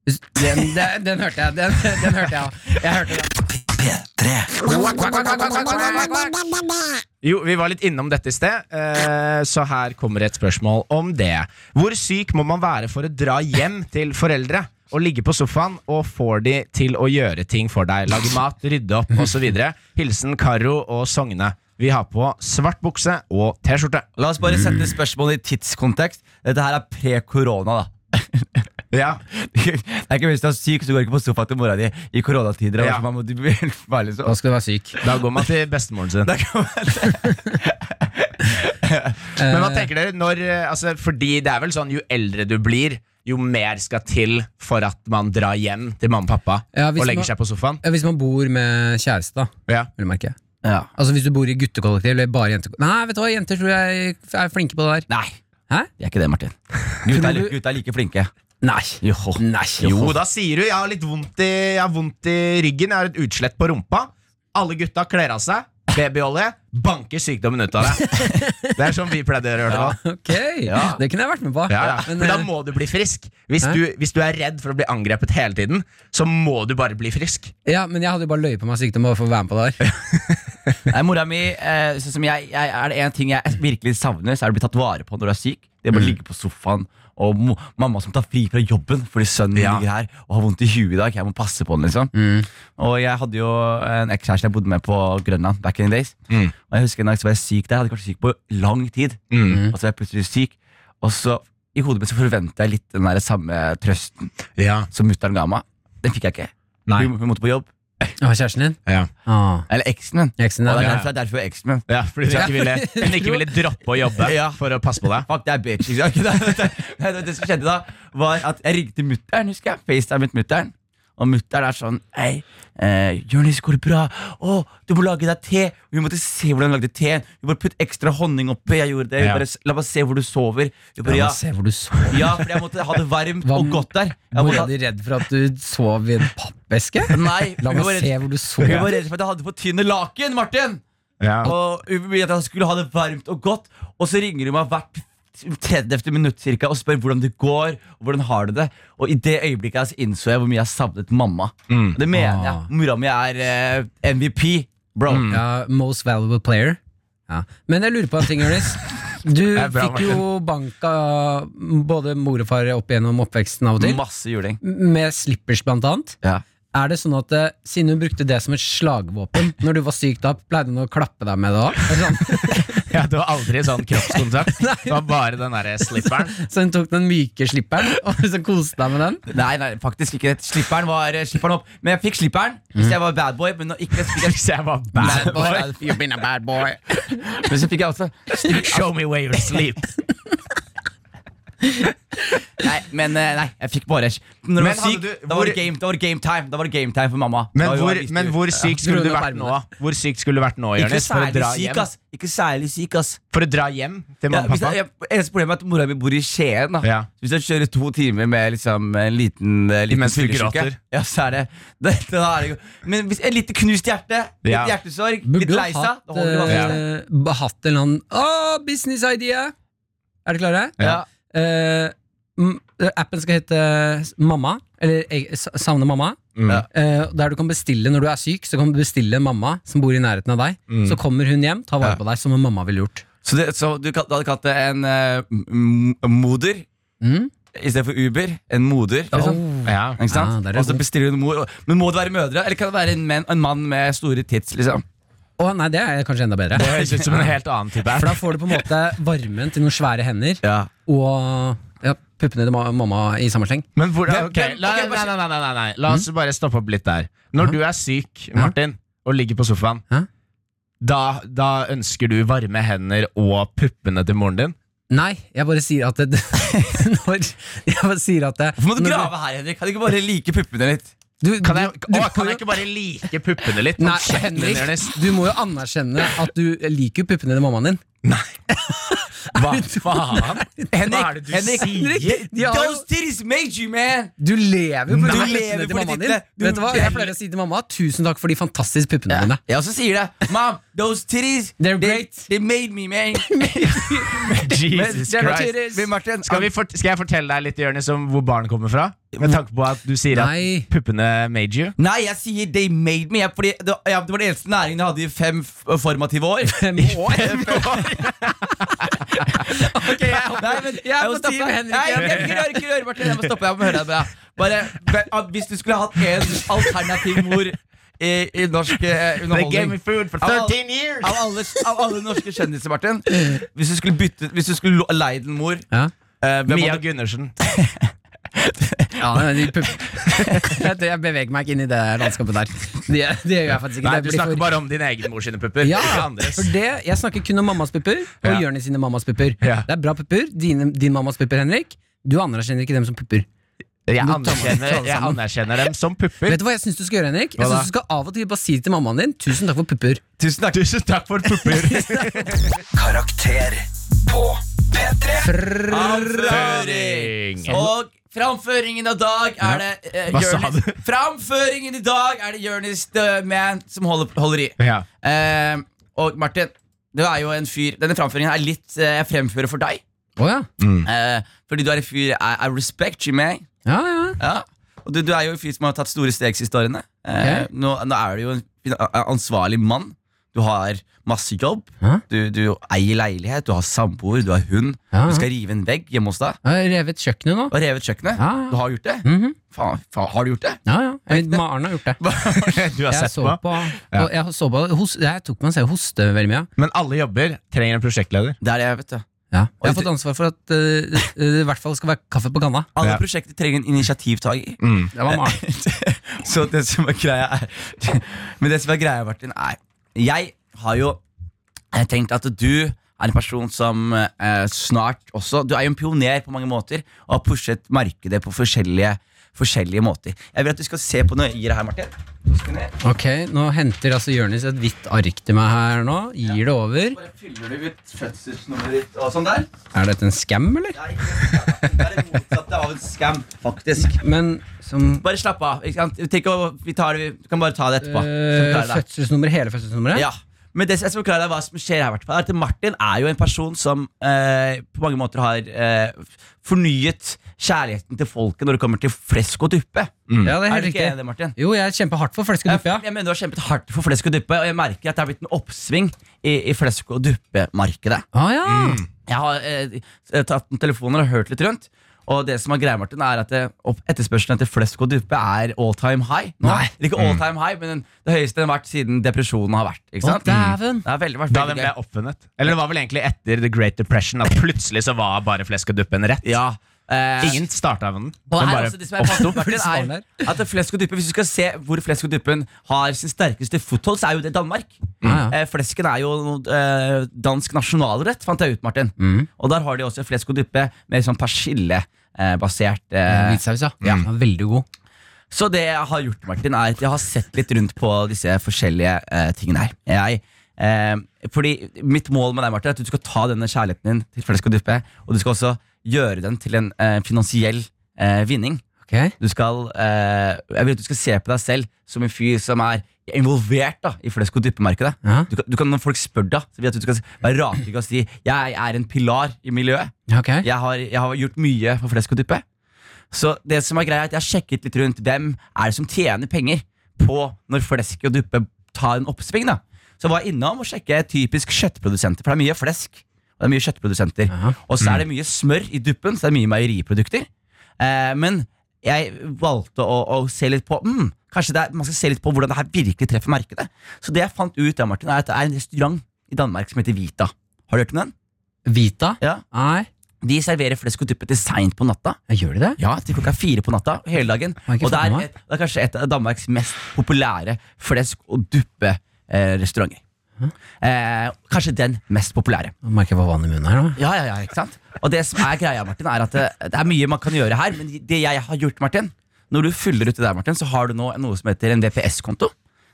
D: Hvis- Den, den, den hørte jeg. Den, den hørte jeg. jeg hørte den.
E: Jo, Vi var litt innom dette i sted, eh, så her kommer et spørsmål om det. Hvor syk må man være for å dra hjem til foreldre og ligge på sofaen og får de til å gjøre ting for deg? Lage mat, rydde opp osv. Hilsen Karo og Sogne. Vi har på svart bukse og T-skjorte.
B: La oss bare sette spørsmålet i tidskontekst. Dette her er pre-korona, da.
E: Ja,
B: Det er ikke Hvis du er syk, så går du ikke på sofaen til mora di i koronatider.
E: Ja.
B: altså, Man må, du liksom- blir helt farlig, så.
D: Da skal du være syk.
E: Da går man til bestemoren sin. Men hva tenker dere når eh, altså, Fordi det er vel sånn jo eldre du blir, jo mer skal til for at man drar hjem til mamma og pappa
D: Ja, hvis
E: og legger
D: man-
E: seg på sofaen.
D: Ja, Hvis man bor med kjæreste, da.
E: Ja.
D: Vil du merke.
B: Ja.
D: Altså Hvis du bor i guttekollektiv eller bare jentekollektiv Nei, vet du hva, jenter tror jeg er flinke på det der.
B: Nei,
D: Hæ?
B: det er ikke det, Martin. Gutta, er,
D: Tror du-
B: gutta er like flinke.
D: Nei. Nei.
E: Jo, da sier du 'jeg har litt vondt i, jeg har vondt i ryggen, jeg har et utslett på rumpa'. Alle gutta kler av seg, babyolje, banker sykdommen ut av deg. Det er sånn vi pleide å gjøre det. da.
D: Ok, det kunne jeg vært med på.
E: Ja, ja.
D: Men,
E: Men da
D: eh,
E: må du bli frisk. Hvis
D: Hæ?
E: du, hvis du er redd for å bli angrepet hele tiden, så må du bare bli frisk.
D: ja, men jeg hadde jo bare løyet på meg sykdom bare for å være med på det her.
B: Nei, mora mi, eh, sånn som jeg, jeg, er det en ting jeg virkelig savner, så er det å bli tatt vare på når du er syk. Det
E: Mm.
B: er bare å ligge på sofaen, og mo mamma som tar fri fra jobben fordi sønnen
E: Ja. Mm.
B: ligger her og har vondt i huet i dag. Jeg må passe på den, liksom. Og jeg hadde jo en ekskjæreste jeg bodde med på Grønland back in the days.
E: Mm.
B: Og jeg husker en dag så var jeg syk der. Jeg hadde ikke vært syk på lang tid.
E: Mm.
B: Og så var jeg plutselig syk, og så i hodet mitt så forventa jeg litt den der samme trøsten
E: Ja.
B: som mutter'n ga meg. Den fikk jeg ikke.
E: Nei.
B: Hun, hun måtte på jobb.
D: Å, kjæresten din?
E: Ja.
D: Ah,
B: Eller eksen min.
D: eksen
B: Og
D: din.
B: det er
D: ja.
B: derfor, det er derfor jeg er eksen min.
E: Ja, fordi hun ikke, ville, hun ikke ville droppe å jobbe
B: Ja.
E: for å passe på deg.
B: Fuck, det er bitch. Ikke sant? Det, det, det, det, som skjedde da, var at jeg ringte mutter'n, husker jeg. FaceTime mutter'n. Og mutter'n er sånn Hei, eh, Jonis, går det bra? Å, du må lage deg te. Og Hun måtte se hvordan hun lagde teen. Hun bare putt ekstra honning oppi. Jeg gjorde det. Hun
E: Ja.
B: bare, La meg se hvor du sover. Hun bare,
D: La
B: ja,
D: meg se hvor du så.
B: ja, for jeg måtte ha det varmt
D: Hva
B: og
D: om-
B: godt der. Jeg
D: Ble
B: måtte,
D: du redd for at du sov i en pappeske?
B: ha- nei,
D: La
B: hun
D: meg
B: var
D: se
B: redd,
D: hvor du sov.
B: hun var redd for at jeg hadde for tynne laken, Martin. Og hun ville at jeg skulle ha det varmt og godt Og så ringer hun meg hvert 30 minutt cirka Og spør hvordan det går Og hvordan har du det Og i det øyeblikket altså, innså jeg hvor mye jeg savnet mamma Og Det mener jeg
D: Ah. Mm.
B: Mora mi er eh, MVP Bro
D: Ja, most valuable player. Ja. Men jeg lurer på en ting, Jonis. Du
E: Det er bra,
D: fikk jo banka både mor og far opp gjennom oppveksten av og til,
B: Masse juling
D: med slippers blant annet.
B: ja.
D: Er det sånn at eh, Siden hun brukte det som et slagvåpen når du var syk, da pleide hun å klappe deg med det òg? Sånn.
E: Ja, du har aldri sånn kroppskontakt. Det var bare den derre slipperen.
D: Så hun tok den myke slipperen og så koste deg med den?
B: Nei, nei, faktisk ikke Slipperen var eh, Slipperen opp Men jeg fikk slipperen Hvis jeg var bad boy Men nå ikke fikk jeg
E: Hvis jeg var bad boy.
D: You've been a bad boy.
B: Men så fikk jeg også
E: Show me where you sleep.
B: Nei, men eh, nei Jeg fikk bare Når du
E: Men
B: var syk
E: hadde du-
B: da, var det
E: hvor-
B: game, da var det game time Da var det game time for mamma
E: Men
B: Da var-
E: hvor,
B: visste
E: men
B: du-
E: hvor syk skulle du
D: grunnet
E: vært nå? Hvor syk skulle du vært nå,
B: Ikke
E: Jonis? For, å
B: særlig
E: dra
B: syk,
E: hjem?
B: ass Ikke særlig syk, ass
E: for å dra hjem til
B: Ja,
E: mamma og
B: hvis
E: pappa?
B: jeg, eneste problemet er at mora mi bor i Skien. Da.
E: Ja.
B: Hvis jeg kjører to timer med liksom, en liten, eh, liten
E: Mens du
B: fyllesyke,
E: gråter.
B: Ja, så er det, det, det er det jo. Men hvis, et lite knust hjerte, litt
E: Ja.
B: hjertesorg,
D: Burde
B: litt
D: du
B: lei seg
D: hatt,
B: da holder det
D: eh,
B: faktisk.
D: b- hatt en eller annen Å, business idea! Er dere klare?
B: Ja.
D: Eh, m- appen skal hete Mamma, eller eh, S- Savne mamma.
E: Mm.
B: Ja.
D: Eh, der du kan bestille når du er syk, så kan du bestille en mamma som bor i nærheten av deg.
E: Mm.
D: Så kommer hun hjem, tar vare på deg som en mamma ville gjort.
B: Så, det, så du, kan- du hadde kalt det en eh, m- moder
D: Mm?
B: istedenfor Uber. En moder. Liksom.
D: Oh.
E: Ja.
B: Ikke
D: Ah,
B: sant?
D: der er
B: og så
D: god.
B: bestiller hun en mor. og- Men må det være mødre? Eller kan det være en, menn- en mann med store tits? Liksom?
D: Å, nei, det er kanskje enda bedre.
E: Det høres ut som en helt annen type.
D: For da får du på en måte varmen til noen svære hender
B: Ja.
D: og ja, puppene til ma mamma i samme sleng.
E: Men hvordan,
B: Hvem-
E: ok,
B: hvem-
E: la,
B: ok,
E: nei,
B: bare-
E: nei, nei, nei, nei, nei. La oss bare stoppe opp litt der. Når du er syk, Martin, og ligger på sofaen,
D: Hæ?
E: da, da ønsker du varme hender og puppene til moren din?
D: Nei, jeg bare sier at det, når, Jeg bare sier at det,
B: Hvorfor må du
D: når
B: grave her, Henrik? Kan du ikke bare like puppene litt?
D: du,
E: Kan jeg,
D: du-
E: å, kan jeg ikke bare like puppene litt?
D: Nei,
E: Kjeften din,
D: Henrik,
E: Jonis.
D: du må jo anerkjenne at du liker jo puppene til mammaen din.
E: Hva faen?
B: Henrik,
E: Hva er det du
B: Henrik,
D: sier? De har jo-
B: Those titties made you, man!
D: Du lever jo
B: Nei,
D: på
B: du
D: de puppene
B: lever
D: til
B: for de
D: mammaen din.
B: tittene. Du-
D: Vet du hva, Jeg pleier å si til mamma tusen takk for de fantastiske puppene dine.
B: Jeg også sier det. Mom, those titties
D: They're
B: they-
D: great.
B: They, made me, man.
E: Jesus
B: Men-
E: Christ.
B: Men Martin,
E: Skal, vi fort, skal jeg fortelle deg litt Jørnes, om hvor barn kommer fra? Med tanke på at du sier
D: Nei.
E: at puppene made you.
B: Nei, jeg sier they made me. Jeg, fordi det, ja, det var den eneste næringen jeg hadde i fem f- formative år.
D: Fem år? ok, jeg,
B: Nei, men
D: jeg må
B: må
D: stoppe
B: si-
D: Henrik.
B: Nei, jeg
D: igjen.
B: orker- jeg orker ikke høre, Martin. Jeg må stoppe. Jeg må høre deg med. Bare, be- ah, hvis du skulle hatt en alternativ mor i, i norsk eh,
E: They gave me
B: underholdning
E: food for 13 years!
B: av alle, av alle norske kjendiser, Martin Hvis du skulle bytte Hvis du skulle lo- leid en mor
D: Ja.
B: eh, hvem
E: Mia
B: hadde-
E: Gundersen.
D: Ja, men de pupp- jeg, tror jeg beveger meg ikke inn i det landskapet der. Det, det gjør jeg faktisk ikke.
E: Nei,
D: Det
E: du
D: blir for-
E: snakker bare om din egen mor sine pupper.
D: Ja,
E: ikke andres.
D: for det, jeg snakker kun om mammas pupper og
E: Ja.
D: Jørnes sine mammas pupper.
E: Ja.
D: Det er bra pupper. Dine, din mammas pupper, Henrik. Du anerkjenner ikke dem som pupper.
E: Jeg
D: Du tar-
E: anerkjenner,
D: tar det
E: jeg
D: sammen.
E: anerkjenner dem som pupper.
D: Vet du hva jeg syns du skal gjøre, Henrik? Jeg
E: Hva da?
D: synes du skal Av og til bare si til mammaen din 'tusen takk for pupper'.
E: Tusen takk, for pupper.
A: Karakter på P3.
B: Avføring.
E: Føring.
B: Og Framføringen i dag er det eh,
E: Hva sa
B: Jonis-
E: du?
B: Framføringen i dag er det Jonis The Man som holder, holder i.
E: Ja.
B: Eh, og Martin, du er jo en fyr Denne framføringen er litt eh, jeg fremfører for deg.
D: Å ja.
B: Eh, fordi du er en fyr I, I respect you, man.
D: Ja, ja.
B: Ja. Og du, du er jo en fyr som har tatt store steg siste årene. Eh,
D: Ok.
B: nå, nå er du jo en fin- a- ansvarlig mann. Du har masse jobb.
D: Ja.
B: Du, du eier leilighet, du har samboer, du har hund.
D: Ja, ja.
B: Du skal rive en vegg hjemme hos deg.
D: Jeg har revet kjøkkenet nå.
B: Og revet kjøkkenet.
D: Ja, ja.
B: Du har gjort det?
D: Mhm.
B: Faen, faen, har du gjort det?
D: Ja, ja. Jeg- Maren har gjort det.
E: Du har
D: Jeg
E: sett
D: så
E: på.
D: på, og jeg, så på hos, jeg tok meg en selv hoste veldig mye.
E: Men alle jobber trenger en prosjektleder.
B: Det er det, vet du.
D: Ja. Jeg har
B: Og-
D: fått ansvar for at eh, det i hvert fall skal være kaffe på kanna.
B: Alle
E: Ja.
B: prosjekter trenger en initiativtaker.
D: Det var Maren.
B: Så det som er greia er Men det som er greia, Martin, er Jeg har jo eh, tenkt at du er en person som eh, snart også Du er jo en pioner på mange måter og har pushet markedet på forskjellige, forskjellige måter. Jeg vil at du skal se på nøyere her, Martin. Så skal jeg-
D: Ok, nå henter altså Jørnis et hvitt ark til meg her nå. Gir det over.
B: Bare fyller du ut fødselsnummeret ditt og sånn der.
D: Er dette en scam, eller?
B: Nei, det er det motsatte av en scam, faktisk.
D: Men som
B: Bare slapp av. Ikke sant? Tenk å, vi tar det, vi kan bare ta det etterpå. Så
D: øh,
B: klarer det.
D: fødselsnummer, hele fødselsnummeret?
B: Ja men det som jeg skal forklare deg hva som skjer her, i hvert fall, er at Martin er jo en person som eh, på mange måter har eh, fornyet kjærligheten til folket når det kommer til flesk og duppe.
D: Ja, Mm. det er
B: Er
D: helt
B: du ikke
D: riktig.
B: enig i det, Martin?
D: Jo, jeg kjemper hardt for flesk og duppe, ja.
B: Jeg mener Du har kjempet hardt for flesk og duppe, og jeg merker at det har blitt en oppsving i, i flesk og duppe-markedet.
D: Ah, ja.
B: Jeg har eh, tatt noen telefoner og hørt litt rundt. Og det som er greia, Martin, er at eh, opp- etterspørselen etter flesk og duppe er all time high. Nå.
D: Nei.
B: Eller Ikke
E: Mm.
B: all time high, men det høyeste den har vært siden depresjonen har vært. Ikke
D: Å,
B: sant?
D: dæven.
B: Det er veldig, vært
E: Da
B: veldig gøy.
E: den ble oppfunnet. Eller det var vel egentlig etter The Great Depression at plutselig så var bare flesk og duppen rett.
B: Ja. eh,
E: Ingen starta med den.
B: og
E: den
B: her
E: bare
B: også det som er
E: oppsto.
B: fascinerende,
D: Fordi
B: er at flesk og duppe Hvis du skal se hvor flesk og duppen har sin sterkeste foothold, så er jo det Danmark.
D: Mm. Ja, ja.
B: Eh, Flesken er jo eh, dansk nasjonalrett, fant jeg ut, Martin.
D: Mm.
B: Og der har de også flesk og duppe med sånn persillebasert eh,
D: Hvitsaus, ja. ja. Veldig god.
B: Så det jeg har gjort, Martin, er at jeg har sett litt rundt på disse forskjellige eh, tingene her. Jeg, eh, fordi mitt mål med deg, Martin, er at du skal ta denne kjærligheten din til flesk og duppe, og du skal også gjøre den til en eh, finansiell eh, vinning.
D: Ok.
B: Du skal, eh, jeg vil at du skal se på deg selv som en fyr som er involvert da, i flesk og duppemarkedet.
D: Ja.
B: Du, kan- du kan, når folk spør deg, så vil jeg at du skal være rakig og si jeg er en pilar i miljøet.
D: Ok.
B: Jeg har, jeg har gjort mye for flesk og duppe. Så det som er greia er at jeg har sjekket litt rundt hvem er det som tjener penger på når flesk og duppe tar en oppsving. da. Så jeg var innom og sjekket typisk kjøttprodusenter, for det er mye flesk. Og det er mye kjøttprodusenter.
D: Ja.
B: Og så er det mye smør i duppen, så det er mye meieriprodukter. Eh, men jeg valgte å, å se litt på mm, Kanskje det er, man skal se litt på hvordan det her virkelig treffer markedet. Så det jeg fant ut, da, Martin, er at det er en restaurant i Danmark som heter Vita. Har du hørt om den?
D: Vita?
B: Ja.
D: Nei.
B: De serverer flesk og duppe til seint på natta.
D: Ja, Gjør de det?
B: Ja, Til klokka fire på natta hele dagen.
D: Har jeg ikke
B: Og det
D: fått
B: er,
D: med meg.
B: et, det er kanskje et av Danmarks mest populære flesk- og duppe-restauranter. Eh, kanskje den mest populære.
D: Nå merker jeg bare vann i munnen her, da.
B: Ja, ja, ja, ikke sant? Og det som er greia, Martin, er at det, det er mye man kan gjøre her, men det jeg har gjort, Martin Når du fyller ut det der, Martin, så har du nå noe som heter en VPS-konto.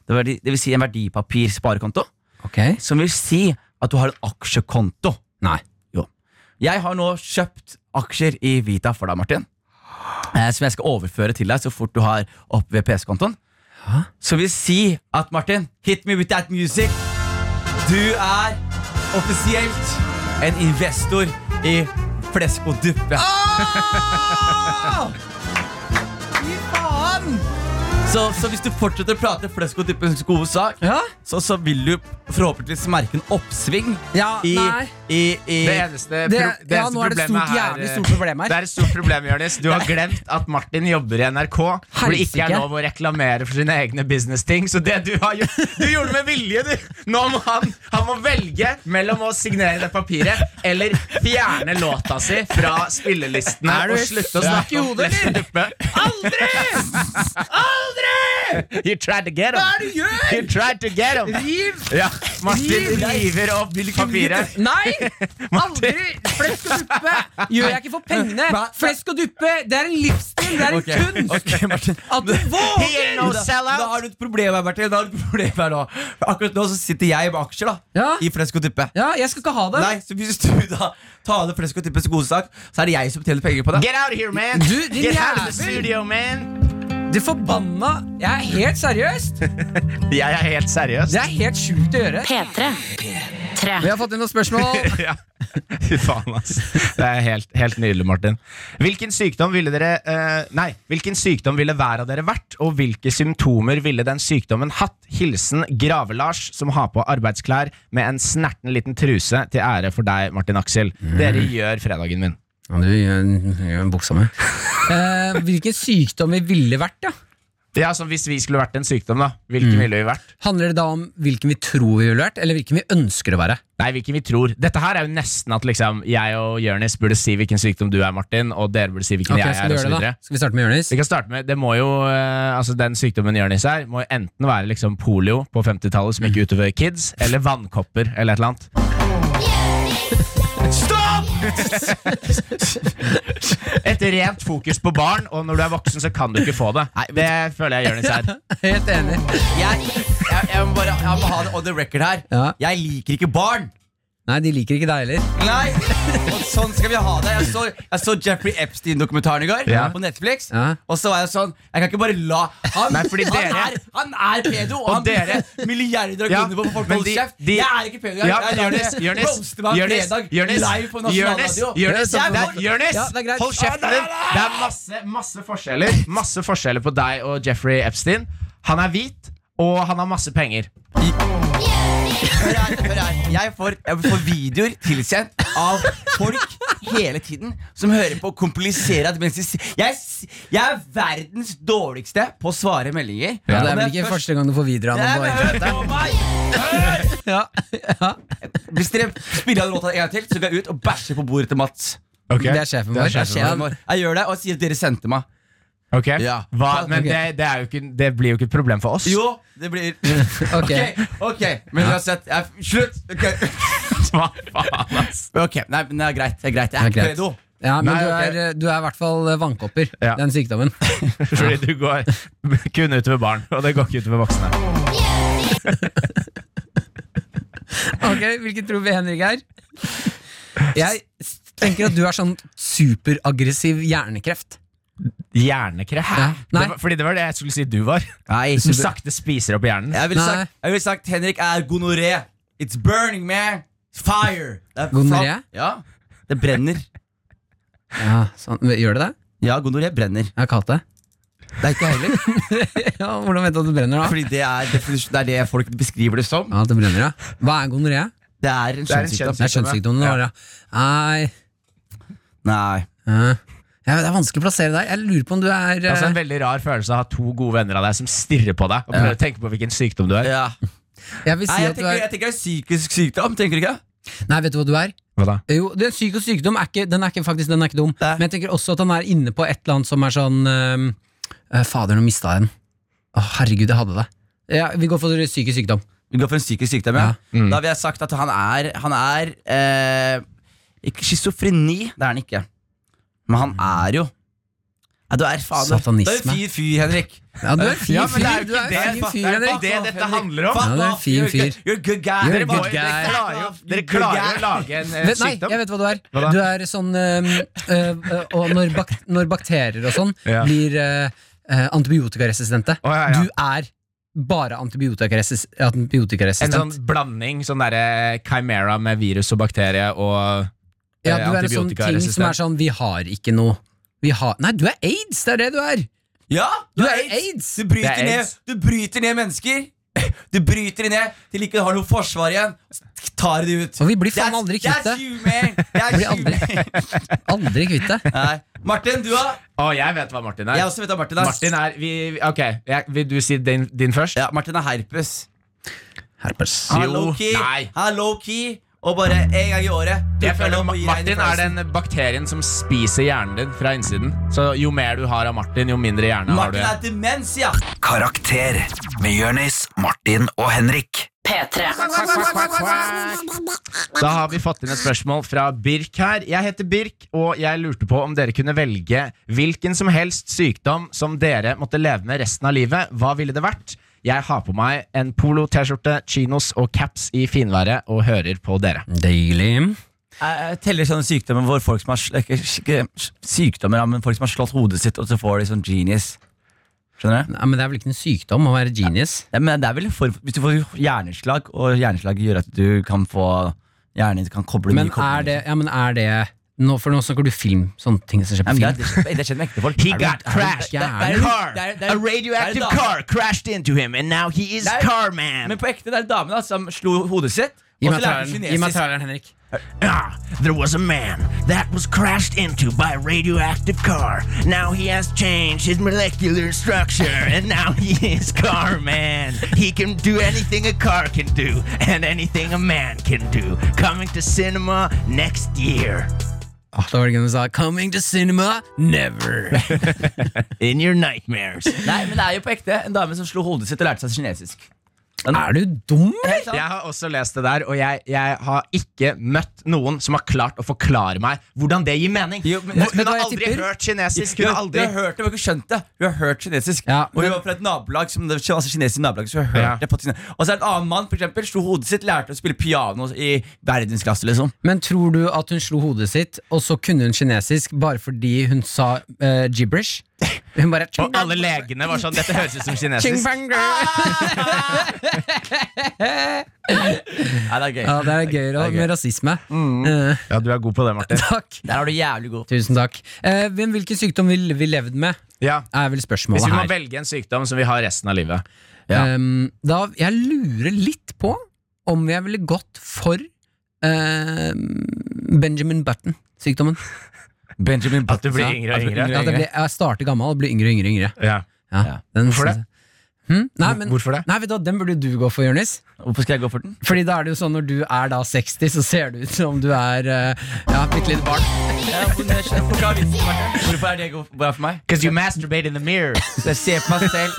B: Det, verdi- det vil si en verdipapirsparekonto,
D: Ok.
B: som vil si at du har en aksjekonto.
D: Nei.
B: Jo. Jeg har nå kjøpt aksjer i Vita for deg, Martin. Eh, som jeg skal overføre til deg så fort du har opp VPS-kontoen. Som vil si at, Martin, hit me with that music. Du er offisielt en investor i flesk og duppe. Ah! Fy faen! Så, så hvis du fortsetter å prate flesk og duppens gode sak,
D: Ja?
B: så, så vil du forhåpentligvis merke en oppsving
D: Ja,
B: i,
D: nei.
B: i, i
E: Det eneste,
D: Det-
E: pro det
D: ja,
E: eneste
D: nå er det et
E: problemet
D: stort,
E: her,
D: jævlig stort problem her.
E: Det er et stort problem, Jonis. Du har glemt at Martin jobber i NRK. Hvor det ikke er
D: Helsike.
E: lov å reklamere for sine egne business-ting. Så det du har gjort, du gjorde med vilje, du! Nå må han, han må velge mellom å signere det papiret eller fjerne låta si fra spillelistene
D: Er du
E: og slutte å
D: syk i
E: snakke om
D: hodet,
E: Lester Duppe. Aldri! Aldri! You tried to get him. Hva er det du gjør? You tried to get him.
D: Riv!
E: Ja, Martin
D: Riv!
E: river opp papiret.
D: Nei! Aldri! Flesk og duppe gjør jeg ikke for pengene. Flesk og duppe, det er en livsstil. Det er en kunst!
B: Ok, Martin.
D: At du
F: He
D: våger!
F: ain't no
B: da,
F: sellout.
B: da har du et problem her, Martin. Da har du et problem her nå. For Akkurat nå så sitter jeg med aksjer da
D: Ja.
B: i Flesk og Tippe.
D: Ja, jeg skal ikke ha det.
B: Nei, så Hvis du da tar det Flesk og Tippes gode sak, så er det jeg som tjener penger på det.
E: Get out of here, man!
D: Du, din
E: Get out of the
D: jævel.
E: studio, man!
D: Du forbanna Jeg er helt seriøst.
E: Jeg er helt seriøs.
D: Det er helt sjukt å gjøre.
G: P3.
D: Vi
G: 3.
D: har fått inn noen spørsmål.
E: Ja. Fy faen, ass. Det er helt, helt nydelig, Martin. Hvilken sykdom ville dere eh, Nei, hvilken sykdom ville hver av dere vært, og hvilke symptomer ville den sykdommen hatt? Hilsen Grave-Lars, som har på arbeidsklær med en snerten liten truse til ære for deg, Martin Aksel. Dere
D: Mm.
E: gjør fredagen min.
D: du gjør en buksa med. Eh, hvilken sykdom vi ville vært, ja?
E: Ja, så Hvis vi skulle vært en sykdom, da,
D: Mm.
E: hvilken ville vi vært?
D: Handler det da om hvilken vi tror vi ville vært, eller hvilken vi ønsker å være?
E: Nei, hvilken vi tror. Dette her er jo nesten at liksom, jeg og Jonis burde si hvilken sykdom du er, Martin, og dere burde si hvilken
D: Ok, skal
E: jeg er.
D: vi
E: Og så
D: gjøre det
E: videre.
D: da? Skal vi starte med Jonis?
E: Vi kan starte med, det må jo, eh, altså Den sykdommen Jonis er, må jo enten være liksom polio på 50-tallet som gikk utover kids, eller vannkopper eller et eller annet. Stopp! Et rent fokus på barn, og når du er voksen, så kan du ikke få det. Det føler jeg Jonis er.
D: Helt enig.
B: Jeg, jeg, jeg må bare jeg må ha det on the record her.
D: Ja.
B: Jeg liker ikke barn.
D: Nei, de liker ikke deg heller.
B: Nei, og sånn skal vi ha det. Jeg så, jeg så Jeffrey Epstein-dokumentaren i går
E: Ja.
B: på Netflix.
D: Ja.
B: Og så var jeg sånn Jeg kan ikke bare la Han,
E: Nei, fordi dere-
B: han, er, han er pedo, og,
E: Og
B: han
E: dere-
B: bruker milliarder av
E: Ja,
B: kroner på å få folk til å
E: men
B: holde
E: de-
B: kjeft.
E: de-
B: Jeg er ikke pedo. Jeg,
E: Ja,
B: jeg, jeg,
E: Jonis, Jonis,
B: roaster meg
E: Jonis,
B: fredag
E: Jonis,
B: live på
E: Jonis,
B: nasjonalradio.
E: Jonis,
B: Jeg-
E: det er- Jonis,
D: Ja, det er greit.
E: hold kjeften din! Det er masse, masse forskjeller Masse forskjeller på deg og Jeffrey Epstein. Han er hvit, og han har masse penger.
B: Hør her, hør her. Jeg får, jeg får videoer tilsendt av folk hele tiden som hører på komplisert mens de sier jeg, s- jeg er verdens dårligste på å svare meldinger.
D: Ja, det
B: Og
D: er
B: når
D: vel
B: jeg
D: ikke
B: først-
D: første gang du får videre
B: Nei,
D: av
B: men
D: noe.
B: hør på meg! Hør!
D: Ja. Ja.
B: Hvis dere spiller den låta en gang til, så går jeg ut og bæsjer på bordet til Mats.
D: Det er sjefen vår.
E: Det er sjefen
D: Ja,
B: Jeg gjør det, og sier at dere sendte meg.
E: Ok,
B: Ja.
E: Hva, Men
D: Ok.
E: det, det, er jo ikke, det blir jo ikke et problem for oss.
B: Jo, det blir
D: Ok.
B: Ok, ok, men uansett. jeg- Slutt! Ok,
E: Hva faen, ass?
B: Ok, Nei, men det er greit. Det er greit. Jeg er
D: Det er greit.
B: pedo.
D: Ja, men
E: Nei,
D: du,
E: ok.
D: er, du er i hvert fall eh, vannkopper.
E: Ja.
D: Den sykdommen.
E: Fordi du går kun utover barn, og det går ikke utover voksne.
D: Ok, Hvilken tror vi Henrik er? Jeg s- tenker at du er sånn superaggressiv hjernekreft.
E: Hjernekreft?
D: Ja. Nei.
E: Det var, fordi det var det jeg skulle si du var.
B: Nei,
E: Som sakte spiser opp hjernen.
B: Jeg ville
D: Nei.
B: sagt, jeg ville sagt Henrik er gonoré. It's burning, man. It's fire. Det er
D: Gonoré?
B: faen- Ja. Det brenner.
D: Ja, sånn. Gjør det det?
B: Ja, gonoré brenner.
D: Jeg har ikke hatt det.
B: Det er ikke jeg heller.
D: Ja, hvordan vet du at det brenner, da?
B: Fordi det er, definisjon- det er det folk beskriver det som.
D: Ja, at det brenner, ja. Hva er gonoré?
B: Det er en
E: Det er en
B: kjønnssykdom.
D: Det er kjønnssykdommen vår, ja. Nei
B: Nei.
D: ja. Ja, Det er vanskelig å plassere deg. Jeg lurer på om du er eh,
E: Altså En veldig rar følelse av å ha to gode venner av deg som stirrer på deg og prøver å tenke på hvilken sykdom du er.
B: Ja.
D: eh, Jeg vil
B: Nei,
D: si
B: jeg
D: at du
B: tenker,
D: er
B: jeg tenker det er psykisk sykdom, tenker du ikke?
D: Nei, vet du hva du er?
E: Hva da?
D: Jo, det er Psykisk sykdom er ikke, den er ikke, faktisk, den er ikke dum.
B: Nei.
D: Men jeg tenker også at han er inne på et eller annet som er sånn ehm, eh, Fader, nå mista jeg den. Å, herregud, jeg hadde det. Ja, vi går for psykisk sykdom.
B: Vi går for en psykisk sykdom, ja.
D: Ja. Mm.
B: Da vil jeg sagt at han er Han er eh, ikke Schizofreni, det er han ikke. Men han er jo Nei, du er faen du- Du er en
D: Mm. Satanisme.
B: fin fyr, Henrik.
D: Ja, du er en fin
E: Ja, men
D: fyr.
E: det er jo
D: Du
E: ikke
D: er
E: det.
D: en fin fyr,
E: Det er
D: Henrik.
E: ikke det dette handler om.
D: Ja, du er en fin
B: You're a good-
D: fyr.
B: You're a good guy.
D: You're a
E: Dere, må,
D: good
E: dere,
D: guy.
E: klarer jo, dere klarer jo å lage en eh,
D: Vet, nei,
E: sykdom.
D: jeg vet hva du er.
E: Hva da?
D: Du er sånn ehm, eh, eh, Og når, bak når bakterier og sånn
E: Ja.
D: blir eh, eh, antibiotikaresistente
E: Å, ja, ja.
D: Du er bare antibiotikaresis
E: En
D: antibiotikaresistent.
E: sånn blanding. Sånn derre chimera med virus og bakterie og
D: Ja,
E: eh,
D: du er en sånn ting som er sånn Vi har ikke noe vi har, Nei, du er aids! Det er det du er!
B: Ja,
D: Du er aids!
B: Du bryter,
E: Det er
B: ned,
E: aids.
B: du bryter ned mennesker. Du bryter de ned til de ikke har noe forsvar igjen. Tar de ut.
D: Og vi blir faen aldri kvitt det.
B: That's you, man. That's
D: Blir
B: you,
D: aldri-
B: man.
D: Aldri kvitt det.
B: Nei. Martin, du da?
E: Å, jeg vet hva Martin er.
B: Jeg også vet at Martin altså, er
E: Martin er vi, Ok, jeg, Vil du si din, din først?
B: Ja, Martin er herpes.
D: Herpes.
B: Han er
E: Jo,
B: low-key.
E: nei.
B: Han er low-key og bare en gang i året.
E: Jeg
B: dukker han
E: føler
B: opp
E: Ma-
B: og gir deg en i
E: Martin er
B: fleisen.
E: den bakterien som spiser hjernen din fra innsiden. Så jo mer du har av Martin, jo mindre hjerne har du.
B: Martin er demens, ja.
A: Karakter med Jørnis, Martin og Henrik.
G: P3.
E: Da har vi fått inn et spørsmål fra Birk her. Jeg heter Birk, og jeg lurte på om dere kunne velge hvilken som helst sykdom som dere måtte leve med resten av livet. Hva ville det vært? Jeg har på meg en polo, T-skjorte, chinos og caps i finværet og hører på dere.
D: Deilig.
B: Jeg jeg teller sånne sykdommer hvor folk som har sl- ikke, ikke s- sykdommer, ja, men folk som har slått hodet sitt, og så får de sånn genius. Skjønner du?
D: Nei, men Det er vel ikke en sykdom å være genius?
B: Nei, men det er vel for, Hvis du får hjerneslag, og hjerneslag gjør at du kan få Hjernen kan koble
D: Men
B: mye koblinger.
D: er det, ja, men er det nå, For nå snakker du film, sånne ting som skjer
B: Nei,
D: på
B: men det, er- det,
D: film.
B: skjer- det skjer med ekte folk.
E: He
B: Er det-
E: got
B: er det-
E: crashed.
B: det er- det er-
E: Car.
B: det er- det er- det
E: A
B: er
E: radioactive
B: en dame.
E: car crashed into him, and now he is
B: Det er-
E: car man.
B: Men på ekte, det er en dame da, som slo hodet sitt.
D: Gi
B: Og
D: meg
B: så lærte hun
D: traileren, gi meg
B: kinesisk.
D: traileren, Henrik.
F: Ah, there was a man that was crashed into by a radioactive car. Now he has changed his molecular structure, and now he is Car Man. He can do anything a car can do, and anything a man can do. Coming to cinema next year.
D: Da var det ikke noe som sa 'Coming to cinema never'.
F: In your nightmares.
B: Nei, men det er jo på ekte en dame som slo hodet sitt og lærte seg kinesisk.
D: Er du dum, eller?
B: Sånn.
E: Jeg har også lest det der, og jeg, jeg har ikke møtt noen som har klart å forklare meg hvordan det gir mening.
B: Jo, men-
E: Hvor-
D: vet du hva
E: hun har
D: jeg
E: aldri
D: tipper?
E: hørt kinesisk.
B: Hun
E: Hun har
B: har
E: aldri
B: hørt det, men ikke skjønt det. Hun har hørt kinesisk.
D: Ja,
B: og hun
D: men-
B: var fra et nabolag som det var altså kinesisk nabolag. Så hun hørte
E: Ja.
B: det på sin... Og så er det en annen mann for eksempel, slo hodet sitt, lærte å spille piano i verdensklasse. liksom
D: Men tror du at hun slo hodet sitt, og så kunne hun kinesisk bare fordi hun sa eh, gibberish? Hun bare
E: Og alle legene var sånn Dette høres ut som kinesisk.
B: Nei, det er gøy.
D: Ja, det er gøyere med rasisme.
E: Mm.
D: Eh,
E: Ja, du er god på det, Martin.
D: takk.
B: Der er du jævlig god.
D: Tusen takk. Eh, men hvilken sykdom ville vi levd med,
E: Ja.
D: er vel
E: Hvis
D: spørsmålet
E: vi må
D: her.
E: velge en sykdom som vi har resten av livet.
D: Ehm, da, jeg lurer litt på om jeg ville gått for ehm, Benjamin Button-sykdommen.
B: Benjamin
E: At du blir yngre og yngre.
D: At jeg, blir, jeg starter gammel og blir yngre og yngre. og yngre.
E: Ja.
D: Ja, den-
E: Hvorfor det?
D: Hm? Nei, men,
E: Hvorfor det?
D: nei, vet du, hva, Den burde du gå for, Jonis.
B: Hvorfor skal jeg gå for den?
D: Fordi da er det jo sånn når du er da 60, så ser det ut som du er eh, Ja, bitte lite barn.
B: Hvorfor er det god bra for meg?
E: Because you masturbate in the mirror.
B: Jeg ser på meg selv.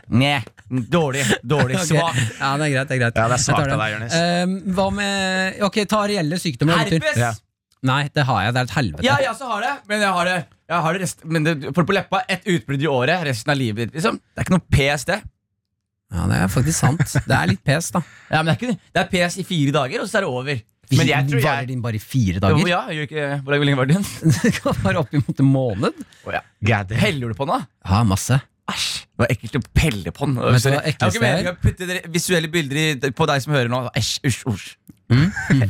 B: Nei. Dårlig. Dårlig.
D: Ok.
B: Svak.
D: Ja, det er greit. det er greit
E: Ja, det er
D: Jeg tar
E: svakt av
D: den.
E: deg, Jonis.
D: Eh, Hva med Ok, ta reelle sykdommer. gutter.
B: Herpes!
E: Ja.
D: Nei, det har jeg. Det er et helvete.
B: Ja, jeg også har det, men jeg har det, jeg har det, rest, men det for på leppa. Ett utbrudd i året, resten av livet. Liksom. Det er ikke noe PS, det.
D: Ja, det er faktisk sant. Det er litt pes, da.
B: Ja, men det, er ikke, det er PS i fire dager, og så er det over.
E: Men jeg tror jeg-
D: Varer din bare i fire
B: Jo,
D: dager?
B: ja, jeg gjør ikke, hvor lenge var det igjen?
D: Det kan være oppimot en måned.
E: God damn.
B: Peller du på den, da?
D: Ja, masse.
B: Æsj! Det var ekkelt å pelle på den.
D: Vet du hva
B: Jeg har
D: ekleste
B: ikke meningen
D: er?
B: å putte dere- visuelle bilder i, på deg som hører nå. Æsj, usj, usj.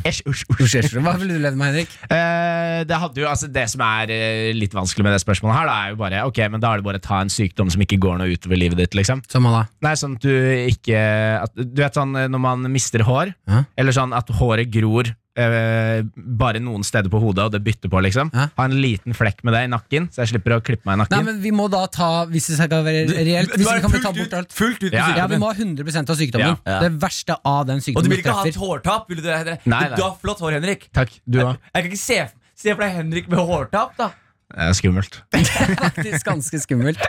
E: Æsj, usj, usj.
D: Hva ville du levd med, Henrik?
E: Eh, det, hadde jo, altså, det som er eh, litt vanskelig med det spørsmålet her, da, er jo bare Ok, men da er det bare å ta en sykdom som ikke går noe utover livet ditt, liksom.
D: Som han da.
E: Nei, sånn at du ikke at, Du vet sånn eh, når man mister hår,
D: Ja.
E: eller sånn at håret gror eh, bare noen steder på hodet, og det bytter på, liksom.
D: Ja.
E: Ha en liten flekk med det i nakken, så jeg slipper å klippe meg i
D: Nei,
E: nakken.
D: men vi må da ta Hvis det skal være reelt, hvis ikke kan vi ta bort alt.
B: fullt ut på
E: Ja, ja.
D: Ja, vi
B: sykdommen.
D: må ha 100 av sykdommen.
E: Ja.
B: Ja.
D: Det verste av den
B: Og du
D: sykdommen
B: vil ikke ha
D: treffer.
B: et hårtap? Vil du, det, Henrik?
E: Nei, nei.
B: du har flott hår, Henrik.
E: Takk, du òg.
B: Jeg kan ikke se, se for deg Henrik med hårtap, da.
E: Det er skummelt.
D: Faktisk ganske skummelt.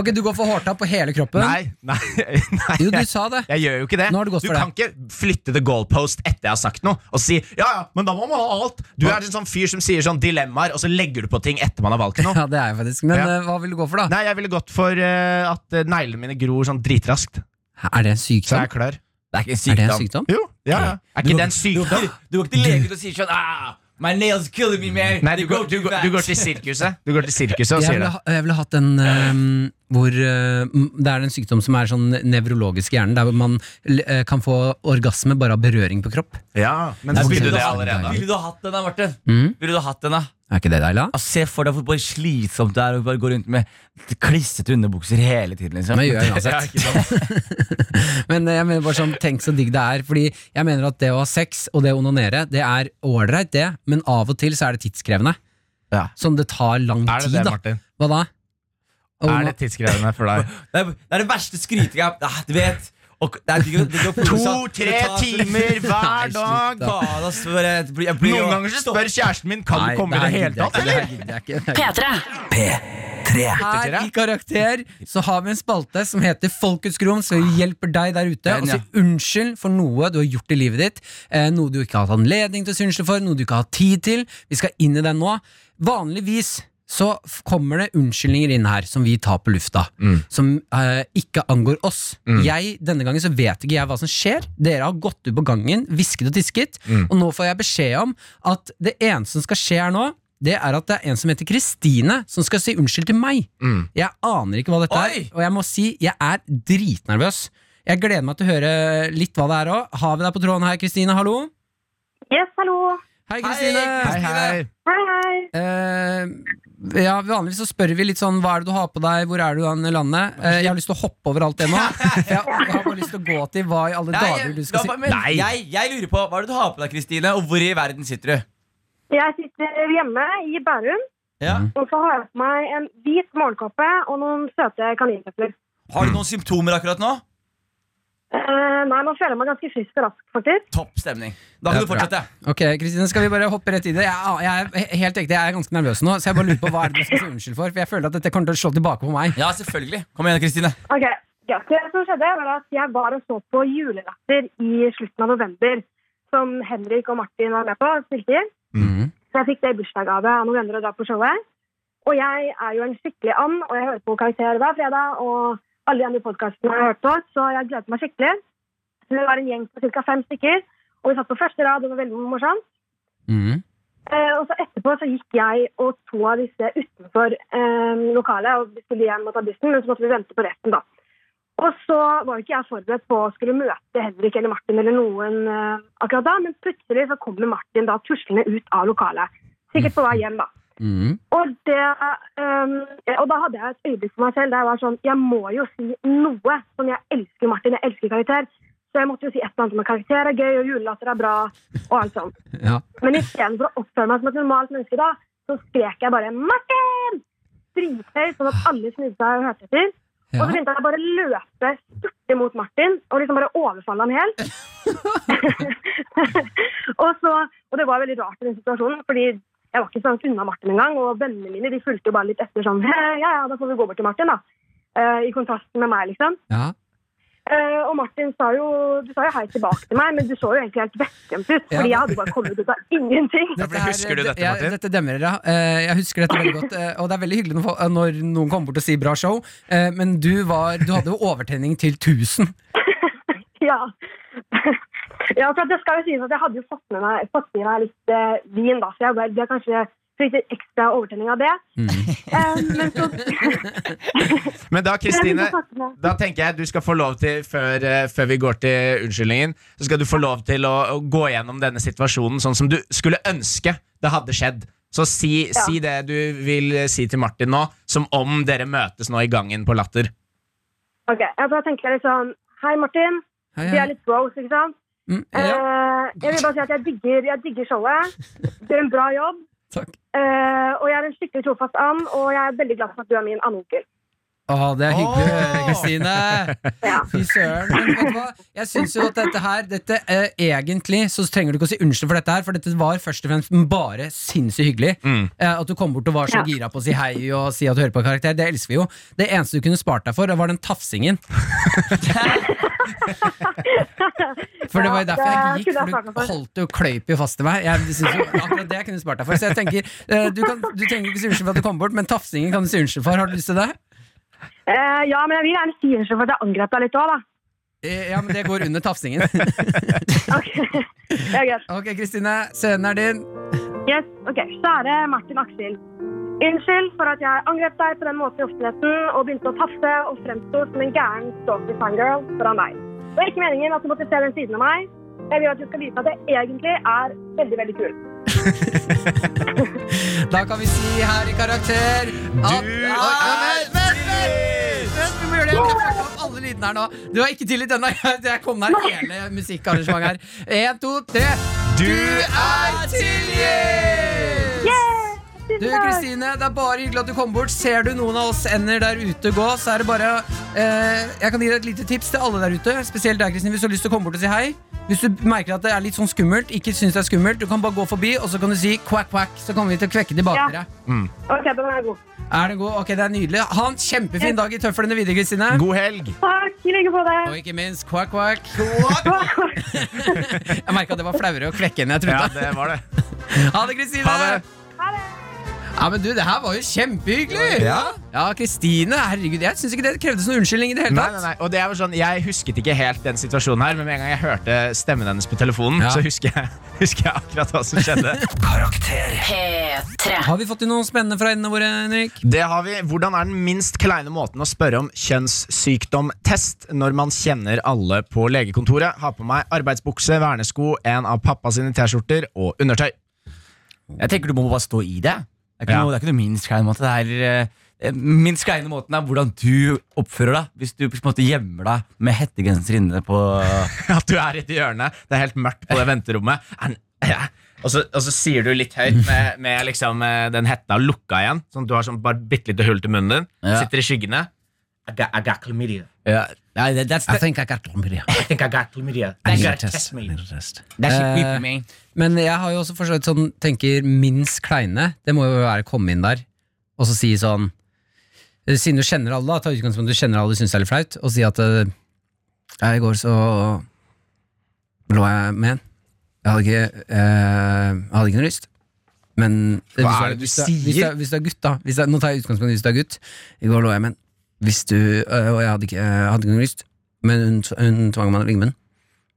D: Ok, Du går for hårtapp på hele kroppen?
E: Nei, nei, nei.
D: Jo, du
E: jeg-
D: sa det.
E: Jeg gjør jo ikke det.
D: Nå har du gått for
E: kan ikke flytte the goalpost etter jeg har sagt noe og si ja, ja, men da må man ha alt. Du er en sånn fyr som sier sånn dilemmaer, og så legger du på ting etter man har valgt noe.
D: Ja, det er jeg faktisk. Men
E: Ja.
D: eh, hva vil du gå for, da?
E: Nei, jeg ville gått for eh, at eh, neglene mine gror sånn dritraskt.
D: Er det en
E: Så jeg
D: sykdom?
E: klør.
B: Det er ikke en
D: Sånn? Er det
B: sykdom.
D: en sykdom?
E: Jo, ja, ja. Er
B: Du
E: ikke
B: går-
E: det en sykdom?
B: Du går ikke til legen og sier sånn ah, My nails killing me, man.
E: Nei,
B: They
E: du går,
B: grow
E: du,
B: too
E: går,
B: fast."
E: du går til sirkuset Du går til sirkuset og
D: Jeg
E: sier
D: ville,
E: det.
D: ha- jeg ville hatt en eh, hvor eh, m- det er en sykdom som er sånn nevrologisk i hjernen, der hvor man eh, kan få orgasme bare av berøring på kropp.
E: Ja, men
D: Nei,
E: så
D: ville du
E: begynner det Mm?
D: ha-
E: allerede.
B: Ville du ha hatt den da, Martin?
D: Mhm.
B: Ville du ha hatt den da?
D: Er ikke det deilig? da?
B: Altså, se for deg hvor bare slitsomt det er å bare gå rundt med klissete underbukser hele tiden. liksom
D: Men gjør jeg uansett. Men eh, jeg mener bare sånn, tenk så digg det er. Fordi jeg mener at det å ha sex og det å onanere, det er ålreit, det, men av og til så er det tidskrevende.
B: Ja.
D: Sånn det tar lang
E: Er det
D: tid,
E: det,
D: da.
E: Martin?
D: Hva da? Å,
E: Er det tidskrevende for deg?
B: Det er, det er det verste skrytinga ah, Du vet og, det er, digg å- digg å-
E: To-tre
B: Det tar-
E: timer
D: Nei,
E: hver
D: slutt,
E: dag!
D: da.
B: Faen, ass, bare, jeg blir, jeg blir,
E: Noen ganger så spør kjæresten min Kan
D: Nei,
E: du komme i det
D: her
E: hele
D: gidder
E: tatt.
D: jeg ikke, det her gidder jeg ikke.
G: P3.
A: Tre.
D: Her i Karakter så har vi en spalte som heter Folkets grom, som hjelper deg der ute.
B: Den,
D: Og si
B: ja.
D: unnskyld for noe du har gjort i livet ditt. eh, Noe du ikke har hatt anledning til å si unnskyld for, noe du ikke har hatt tid til. Vi skal inn i den nå. Vanligvis så f- kommer det unnskyldninger inn her som vi tar på lufta.
B: Mm.
D: Som eh, ikke angår oss. Jeg, Denne gangen så vet ikke jeg hva som skjer. Dere har gått ut på gangen, hvisket og tisket.
B: Mm.
D: Og nå får jeg beskjed om at det eneste som skal skje her nå, det er at det er en som heter Kristine, som skal si unnskyld til meg. Jeg aner ikke hva dette
B: Oi!
D: er, og jeg må si jeg er dritnervøs. Jeg gleder meg til å høre litt hva det er òg. Har vi deg på tråden her, Kristine? Hallo?
G: Yes, hallo.
D: Hei, Kristine!
E: Hei, hei.
G: Hei, hei.
D: Eh, ja, vanligvis så spør vi litt sånn Hva er det du har på deg, hvor er du i landet? Eh, jeg har lyst til å hoppe over alt det nå. Jeg, jeg har bare lyst til å gå til hva i alle
B: Nei,
D: dager du
B: la
D: skal si.
B: meg- men Jeg, jeg lurer på, Hva er det du har på deg, Kristine, og hvor i verden sitter du?
G: Jeg sitter hjemme i Bærum,
B: Ja.
G: og så har jeg på meg en hvit morgenkåpe og noen søte kaninpepler.
B: Har du noen symptomer akkurat nå?
G: Eh, nei, nå føler jeg meg ganske frisk og rask, faktisk.
B: Topp stemning. Da kan
D: Ja,
B: du fortsette.
D: Ok, Kristine, skal vi bare hoppe rett i det? Jeg, jeg, er helt ekte, jeg er ganske nervøs nå, så jeg bare lurer på hva er det du skal si unnskyld for? For jeg føler at dette kommer til å slå tilbake på meg.
B: Ja, selvfølgelig. Kom igjen, Kristine.
G: Ok, ja. Det som skjedde, var at jeg var og så på Julelatter i slutten av november, som Henrik og Martin var med på og spilte inn.
D: Mhm.
G: Så jeg fikk det i bursdagsgave av noen venner og dra på showet. Og jeg er jo en skikkelig and, og jeg hører på karakter hver fredag, og alle de andre podcastene jeg har hørt på, så jeg gledet meg skikkelig. Vi var en gjeng på ca. fem stykker, og vi satt på første rad, og det var veldig morsomt.
D: Mhm.
G: Eh, og så etterpå så gikk jeg og to av disse utenfor eh, lokalet og vi skulle hjem og ta bussen, men så måtte vi vente på resten, da. Og så var jo ikke jeg forberedt på å skulle møte Henrik eller Martin eller noen eh, akkurat da, men plutselig så kommer Martin da tuslende ut av lokalet. Sikkert på vei hjem, da.
D: Mhm.
G: Og, det, eh, og da hadde jeg et øyeblikk for meg selv der jeg var sånn Jeg må jo si noe, som jeg elsker Martin, jeg elsker karakter. Så jeg måtte jo si et eller annet om at karakter er gøy, og julelatter er bra, og alt sånt.
D: Ja.
G: Men istedenfor å oppføre meg som et normalt menneske, da, så skrek jeg bare 'Martin!' drithøyt, sånn at alle snudde seg og hørte etter. Og så
D: Ja.
G: begynte jeg bare å løpe styrte mot Martin og liksom bare overfalle han helt. og, så, og det var veldig rart i den situasjonen, fordi jeg var ikke så langt unna Martin engang. Og vennene mine de fulgte jo bare litt etter sånn «Hæ, Ja, ja, da får vi gå bort til Martin, da. Eh, I kontrast med meg, liksom.
D: Ja.
G: Eh, og Martin sa jo du sa jo hei tilbake til meg, men du så jo egentlig helt vettskremt ut.
D: Ja.
G: Fordi jeg hadde bare kommet ut av ingenting.
E: Ja, for
D: Dette her-
E: husker du dette,
D: jeg-
E: Martin?
D: Dette demrer, ja. Eh, Jeg husker dette veldig godt. eh, Og det er veldig hyggelig når fo- når noen kommer bort og sier 'bra show', eh, men du, var, du hadde jo overtenning til 1000.
G: Ja. ja, for at det skal jo sies at jeg hadde jo fått med meg, fått med meg litt eh, vin, da, så jeg ble, ble kanskje fikk litt ekstra overtenning av det.
D: Mm.
G: Eh, men så
E: Men da, Kristine,
G: Jeg vil ikke snakke med.
E: da tenker jeg du skal få lov til, før, eh, før vi går til unnskyldningen, så skal du få lov til å, å gå gjennom denne situasjonen sånn som du skulle ønske det hadde skjedd. Så si, si det du vil si til Martin nå, som om dere møtes nå i gangen på Latter.
G: Ok, jeg bare tenker litt sånn Hei, Martin.
D: Hei,
G: Vi er
D: hei.
G: litt bros, ikke sant?
D: Mm, ja.
G: Eh, jeg vil bare si at jeg digger, jeg digger showet. Du gjør en bra jobb.
D: Takk.
G: Eh, og jeg er en skikkelig trofast and, og jeg er veldig glad for at du er min andonkel.
D: Å, det er hyggelig å høre,
B: Åh.
D: Kristine.
G: Ja.
D: Fy søren. Men vet du hva? Jeg syns jo at dette her dette, eh, Egentlig så trenger du ikke å si unnskyld for dette her, for dette var først og fremst bare sinnssykt hyggelig. Eh, at du kom bort og var så
G: Ja.
D: gira på å si hei og si at du hører på karakter, det elsker vi jo. Det eneste du kunne spart deg for, var den tafsingen. For det var jo
G: Ja,
D: derfor jeg
G: det
D: gikk,
G: kunne jeg spart meg
D: for
G: for.
D: du holdt jo kløyp jo fast i meg. Jeg synes jo akkurat det jeg kunne spart deg for. Så jeg tenker, eh, du, kan, du trenger ikke si unnskyld for at du kom bort, men tafsingen kan du si unnskyld for. Har du lyst til det?
G: Eh, ja, men jeg vil gjerne si unnskyld for at jeg angrep deg litt òg, da.
D: Eh, Ja, men det går under tafsingen.
G: Ok, det er greit.
D: Ok, Kristine. Scenen er din.
G: Yes, ok. Kjære Martin Aksel. Unnskyld for at jeg angrep deg på den måten i offentligheten og begynte å tafse og fremstå som en gæren stalky fangirl foran deg. Det var ikke meningen at du måtte se den siden av meg. Jeg vil at du skal vite at jeg egentlig er veldig, veldig kul.
D: Da kan vi si her i karakter at
E: Du
D: Vent, vent, vent! Vent, Vi må gjøre det. Vi må snakke om alle lydene her nå. Du har ikke tillit ennå. Jeg jeg kom der hele musikkarrangementet her. Én, to, tre.
E: Du er tilgitt!
G: Tusen
D: Du,
G: takk.
D: Kristine, det er bare hyggelig at du kom bort. Ser du noen av oss ender der ute gå, så er det bare eh, Jeg kan gi deg et lite tips til alle der ute, spesielt deg, Kristine, hvis du har lyst til å komme bort og si hei. Hvis du merker at det er litt sånn skummelt, ikke syns det er skummelt, du kan bare gå forbi, og så kan du si quack, quack, så kommer vi til å kvekke tilbake
G: Ja.
D: dere.
G: Ok, den er god.
D: Er den god? Ok, det er nydelig. Ha en kjempefin dag i tøflene videre, Kristine.
E: God helg.
G: Takk, i like måte.
D: Og ikke minst kvakk, kvakk. Jeg merka det var flauere å kvekke enn jeg
E: Ja,
D: trodde.
E: det var det.
D: Ha det, Kristine!
E: Ha det.
D: Ja, men du, det her var jo kjempehyggelig!
B: Ja.
D: Ja, Kristine, herregud, jeg syns ikke det krevdes noen unnskyldning i det hele
E: Nei,
D: tatt.
E: nei, nei. Og det er vel sånn, jeg husket ikke helt den situasjonen her, men med en gang jeg hørte stemmen hennes på telefonen,
D: Ja.
E: så husker jeg, husker jeg akkurat hva som skjedde.
A: Karakter.
H: P3.
D: Har vi fått inn noe spennende fra øynene våre, Henrik?
E: Det har vi. Hvordan er den minst kleine måten å spørre om kjønnssykdomtest når man kjenner alle på legekontoret? Har på meg arbeidsbukse, vernesko, en av pappa sine T-skjorter og undertøy.
B: Jeg tenker du må bare stå i det. Det er ikke,
E: Ja.
B: noe, det er ikke noe minst kleine måte. Det er heller, eh, minst kleine måten er hvordan du oppfører deg hvis du på en måte gjemmer deg med hettegenser inne på
E: At du er i hjørnet. Det er helt mørkt på det venterommet. En- ja. Og så, og så sier du litt høyt med, med liksom, eh, den hetta lukka igjen. Sånn at du har sånn bare bitte lite hull til munnen din.
B: Ja.
E: Sitter i skyggene. I got, I got chlamydia.
B: ja. Nei, det, det, det,
D: think I got chlamydia.
E: I think I got chlamydia. You gotta test me.
D: Eh, men jeg har jo også forstått sånn, tenker minst kleine. Det må jo være å komme inn der og så si sånn eh, Siden du kjenner alle, da, ta utgangspunkt i at du kjenner alle og syns det er litt flaut, og si at eh, ja, i går så lå jeg med en. Jeg hadde ikke, eh, jeg hadde ikke noe lyst. Men eh,
E: Hva
D: hvis
E: er det du
D: hvis er- Hvis du,
E: sier?
D: er- hvis du er gutt, da. Hvis du er- nå tar jeg utgangspunkt i hvis du er gutt. I går lå jeg med en. Hvis du, eh, og jeg hadde ikke, jeg hadde ikke noe lyst, men hun, hun tvang meg til å ligge med den.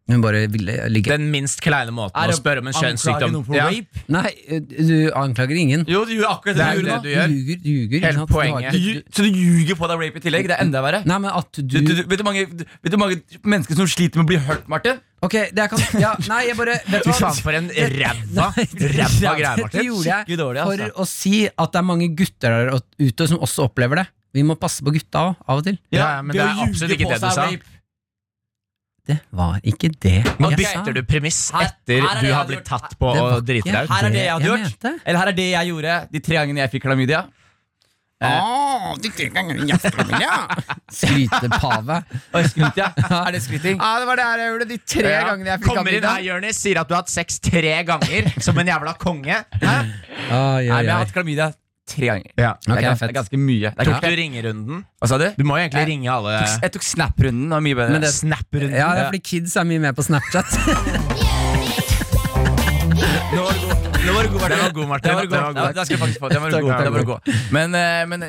D: Hun bare ville ligge.
E: Den minst kleine måten
B: Er
E: å
B: det
E: spørre om en
B: anklage
E: kjønnssykdom
B: noen for
E: Ja.
B: rape?
D: Nei, eh, du anklager ingen.
B: Jo, du gjør akkurat det,
E: Det er
B: du
E: jo
B: gjorde nå.
E: det du gjør.
D: Ljuger, ljuger.
E: Hele
D: ikke sant? Du har
E: poenget.
D: ikke-
B: Du, ju- så du ljuger på deg rape i tillegg? Det er enda verre.
D: Nei, men at du,
B: Du, du, du, vet, du mange, du, vet du mange mennesker som sliter med å bli hørt, Martin?
D: Ok, det jeg kan ja, Nei, jeg bare Vet du
E: Fy
D: hva?
E: faen, for en ræva ræva greie,
D: Dette
E: Martin.
D: gjorde jeg
B: Skikkelig dårlig,
D: for
B: altså.
D: å si at det er mange gutter der og- ute som også opplever det. Vi må passe på gutta også, av og til.
E: Ja, ja, men
B: ved å
E: det er
B: ljuge
E: absolutt ikke
B: på
E: det du
B: seg
E: sa.
B: rape.
D: Det var ikke det
E: Nå
D: jeg sa.
E: bytter du premiss
B: Her- her
E: etter
B: er det
E: du
B: jeg
E: har
B: hadde
E: blitt
B: gjort.
E: tatt på
D: Det
E: å
D: var ikke-
E: drite deg ut.
B: Her er det jeg hadde
D: jeg
B: gjort.
D: mente.
B: Eller her er det jeg gjorde de tre gangene jeg fikk klamydia.
E: Eh,
D: Skrytepave.
B: Og jeg skryter, ja. Er det skryting?
D: Ja, det var det her jeg gjorde de tre
E: Ja. Kommer inn her, Jonis, sier at du har hatt sex tre ganger som en jævla konge. Hæ?
B: Nei, men jeg har hatt klamydia tre ganger.
E: Ja.
B: Det er,
D: Ok,
B: gans-
D: fett.
B: det er ganske mye. Det er
E: Tok
B: ganske,
E: du ringerunden?
B: hva sa du?
E: Du må jo egentlig
B: Jeg-
E: ringe alle
B: Jeg tok Snap-runden. det var mye bedre.
D: Men det-
E: Snap-runden.
D: Ja, det er fordi kids er mye mer på Snapchat.
B: Nå var det god. Nå var det god, Martin.
E: Den var god, Martin.
B: Den var
E: Den var
B: god.
E: god.
B: Ja, den skal jeg faktisk få. Den var god. Den var god. Men, eh, men,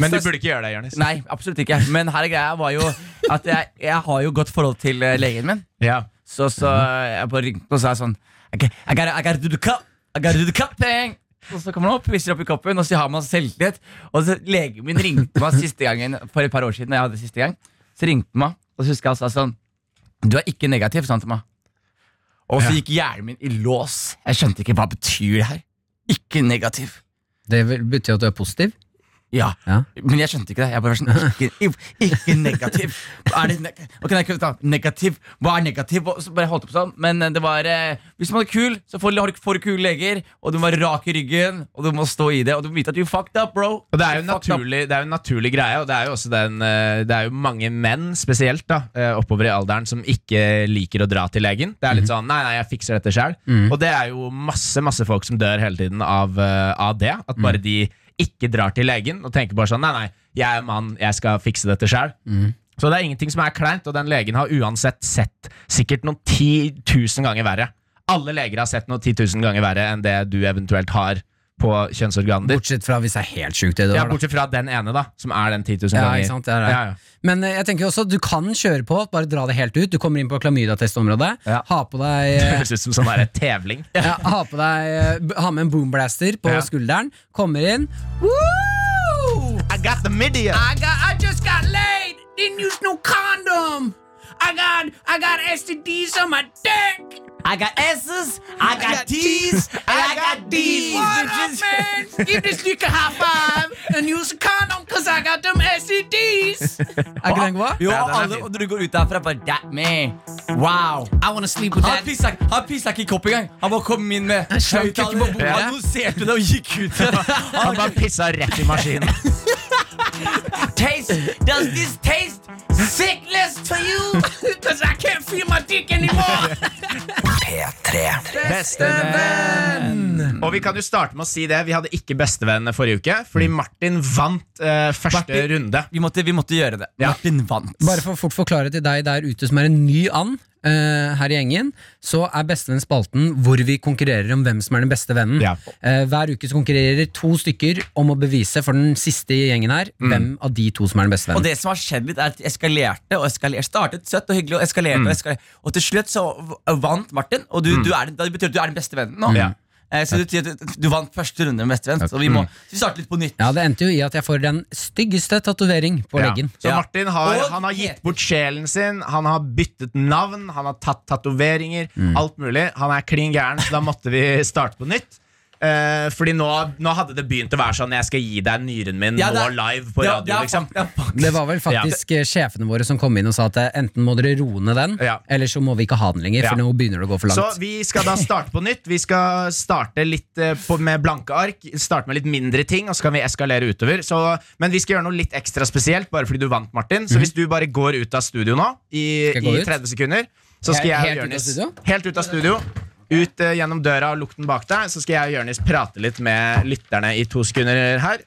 E: Men du burde ikke gjøre det, Jonis.
B: Nei, absolutt ikke. Men her er greia var jo at jeg, jeg har jo godt forhold til eh, legen min.
E: Ja.
B: Så, så jeg bare ringte og sa sånn I gotta, I gotta, I gotta do the cup I gotta do the cup thing Og så kommer han opp, viser opp i koppen Og så har man selvtillit Og så legen min ringte meg siste gangen For et par år siden, når jeg hadde siste gang Så ringte han meg, og så husker jeg han sa sånn Du er ikke negativ, sa han til meg Og så gikk hjernen min i lås Jeg skjønte ikke, hva betyr det her? Ikke negativ
D: Det vil- betyr at du er positiv.
B: ja.
D: Ja.
B: men jeg skjønte ikke det. Jeg bare var sånn, ikke, ikke negativ. Hva Er det neg ok, nei, ikke, vent da. negativ? Hva er negativ? Og så bare holdt opp sånn. Men eh, det var eh, Hvis man er kul, så får har du- får du kule leger, og du må være rak i ryggen, og du må stå i det, og du må vite at you fucked up, bro.
E: Og det er jo en
B: You fucked up.
E: naturlig, det er jo en naturlig greie, og det er jo også den eh, Det er jo mange menn, spesielt da eh, oppover i alderen, som ikke liker å dra til legen. Det er litt sånn 'nei, nei, jeg fikser dette sjøl'. Og det er jo masse masse folk som dør hele tiden av, eh, av det. At bare de ikke drar til legen og tenker bare sånn 'nei, nei, jeg er mann, jeg skal fikse dette sjøl'. Så det er ingenting som er kleint, og den legen har uansett sett sikkert noen 10 000 ganger verre. Alle leger har sett noe 10 000 ganger verre enn det du eventuelt har på kjønnsorganet ditt.
D: Bortsett fra hvis det er helt sjukt, det du
E: Ja,
D: har. da.
E: bortsett fra den ene, da, som er den 10 000
D: Ja,
E: ganger.
D: ikke sant, det er det.
E: Ja, ja.
D: Men eh, jeg tenker jo også, du kan kjøre på, bare dra det helt ut. Du kommer inn på klamydatestområdet.
B: Ja.
D: Ha på deg
E: Det
D: eh,
E: høres ut som sånn der tevling.
D: ja, ha, på deg, eh, b- ha med en boomblaster på
E: Ja.
D: skulderen. Kommer inn. Woo!
E: I got the media!
D: I, got, I just got laid! Didn't use no condom! I got, I got STDs on my dick!
B: I got S's, I got T's, and I got D's, bitches.
D: man? Give this nigga high five and use a condom cause I got them E STDs! Er ikke den god?
B: Jo,
E: Ja, den er
B: alle,
E: fin.
B: og når du går ut derfra, bare that man. Wow.
D: I wanna sleep with
B: Han pissa, ikke- han pissa ikke i kopp engang. Han bare kom inn med
D: Slank ikke på bordet.
B: Han annonserte det og gikk ut.
E: Han bare pissa rett i maskinen.
F: taste? Does this taste sickness to you? Because I can't feel my dick anymore.
E: Og vi kan jo starte med å si det Vi hadde ikke bestevennene forrige uke, fordi Martin vant eh, første
B: Martin-
E: runde.
B: Vi måtte, vi måtte gjøre det.
E: Ja.
B: Martin vant.
D: Bare for å fort forklare til deg der ute som er en ny and eh, her i gjengen, så er Bestevenn spalten hvor vi konkurrerer om hvem som er den beste vennen.
E: Ja.
D: Eh, hver uke så konkurrerer to stykker om å bevise for den siste i gjengen her hvem av de to som er den beste
B: Mm. Og
D: vennen.
B: det som har skjedd litt, er at det eskalerte og eskalerte. Startet søtt og hyggelig og eskalerte.
E: Mm.
B: Og eskalerte. Og til slutt så v- vant Martin, og du, du er, den- det betyr at du er den beste vennen nå.
E: Mm. Ja. Mm.
B: Eh, Så du, sier at du, du vant første runde med bestevenn, så vi må så vi starter litt på nytt.
D: Ja, det endte jo i at jeg får den styggeste tatovering på
E: Ja.
D: leggen.
E: Så
B: Ja.
E: Martin har,
B: Og-
E: han har gitt bort sjelen sin, han har byttet navn, han har tatt tatoveringer, alt mulig. Han er klin gæren, så da måtte vi starte på nytt. Eh, fordi nå, nå hadde det begynt å være sånn jeg skal gi deg nyren min
B: Ja, det
E: nå
B: er-
E: live på
B: Ja,
E: radio.
B: det er
E: liksom.
B: fakt- det er fakt-
D: Det var vel faktisk eh, sjefene våre som kom inn og sa at eh, enten må dere roe ned den,
E: Ja.
D: eller så må vi ikke ha den lenger, for
E: Ja.
D: nå begynner det å gå for
E: Så
D: langt.
E: vi skal da starte på nytt. Vi skal starte litt eh, på, med blanke ark. Starte med litt mindre ting, og så kan vi eskalere utover. Så, men vi skal gjøre noe litt ekstra spesielt, bare fordi du vant, Martin. Så hvis du bare går ut av studio nå, i,
D: Mhm. Skal jeg gå
E: i
D: ut?
E: 30 sekunder, så skal
D: Helt-
E: jeg og
D: helt ut av
E: Jonis
D: studio?
E: Helt ut av studio. Ut eh, gjennom døra og lukten bak deg, så skal jeg og Jonis prate litt med lytterne i to sekunder her.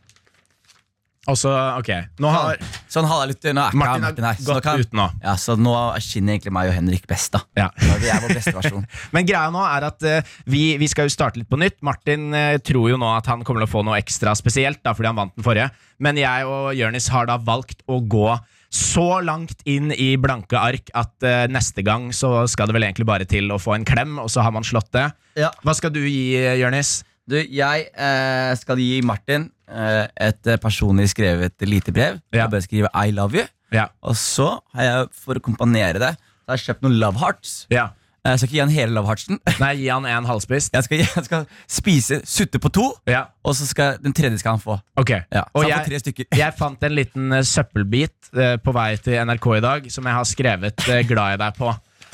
E: Og så, ok Nå har
B: Sånn halv litt unna er ikke
E: Martin har
B: Martin her. Så nå,
E: gått
B: kan,
E: ut nå.
B: Ja, så nå skinner egentlig meg og Henrik best, da.
E: Ja.
B: Da er vi- Jeg er vår beste versjon.
E: Men greia nå er at eh, vi, vi skal jo starte litt på nytt. Martin eh, tror jo nå at han kommer til å få noe ekstra spesielt, da, fordi han vant den forrige. Men jeg og Jørnis har da valgt å gå så langt inn i blanke ark at eh, neste gang så skal det vel egentlig bare til å få en klem, og så har man slått det.
B: Ja.
E: Hva skal du gi, eh, Jørnis?
B: Du, jeg eh, skal gi Martin eh, et eh, personlig skrevet lite brev.
E: Ja.
B: Jeg bare skriver 'I love you'.
E: Ja.
B: Og så har jeg, for å kompanere det, så har jeg kjøpt noen love hearts. Eh,
E: ja.
B: Jeg skal ikke gi han hele love heartsen.
E: Nei, gi han en halvspist.
B: Jeg skal, jeg skal spise, sutte på to,
E: Ja.
B: og så skal den tredje skal han få.
E: Ok.
B: Ja, så
E: Og
B: han får
E: jeg,
B: tre stykker.
E: jeg fant en liten eh, søppelbit eh, på vei til NRK i dag som jeg har skrevet eh, 'glad i deg' på.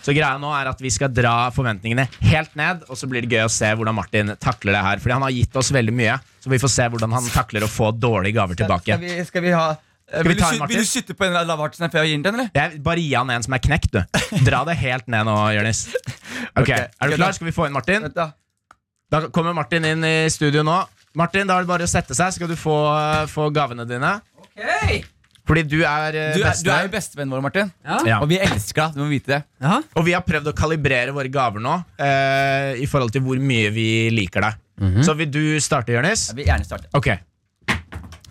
E: Så greia nå er at Vi skal dra forventningene helt ned, og så blir det gøy å se hvordan Martin takler det her. Fordi han har gitt oss veldig mye, så vi får se hvordan han takler å få dårlige gaver tilbake.
B: Skal vi, skal vi ha eh,
E: vi
B: vil, du,
E: ta en,
B: sy-
E: Martin?
B: vil du sutte på en av love heartsen før jeg gir den til den, eller?
E: Jeg bare gi han en som er knekt, du. Dra det helt ned nå, Jonis.
B: Ok.
E: Ok, Er du klar? Skal vi få inn Martin?
B: Vent da.
E: Da kommer Martin inn i studio nå. Martin, da er det bare å sette seg, skal du få, eh, få gavene dine. Fordi du er eh,
B: Du, er, du
E: bestevenn.
B: er jo bestevennen vår, Martin.
D: Ja.
E: Ja.
B: Og vi elsker deg. Du må vite det.
D: Ja.
E: Og vi har prøvd å kalibrere våre gaver nå eh, i forhold til hvor mye vi liker deg.
B: Mhm.
E: Så vil du starte, Jonis?
B: Jeg vil gjerne starte.
E: Ok.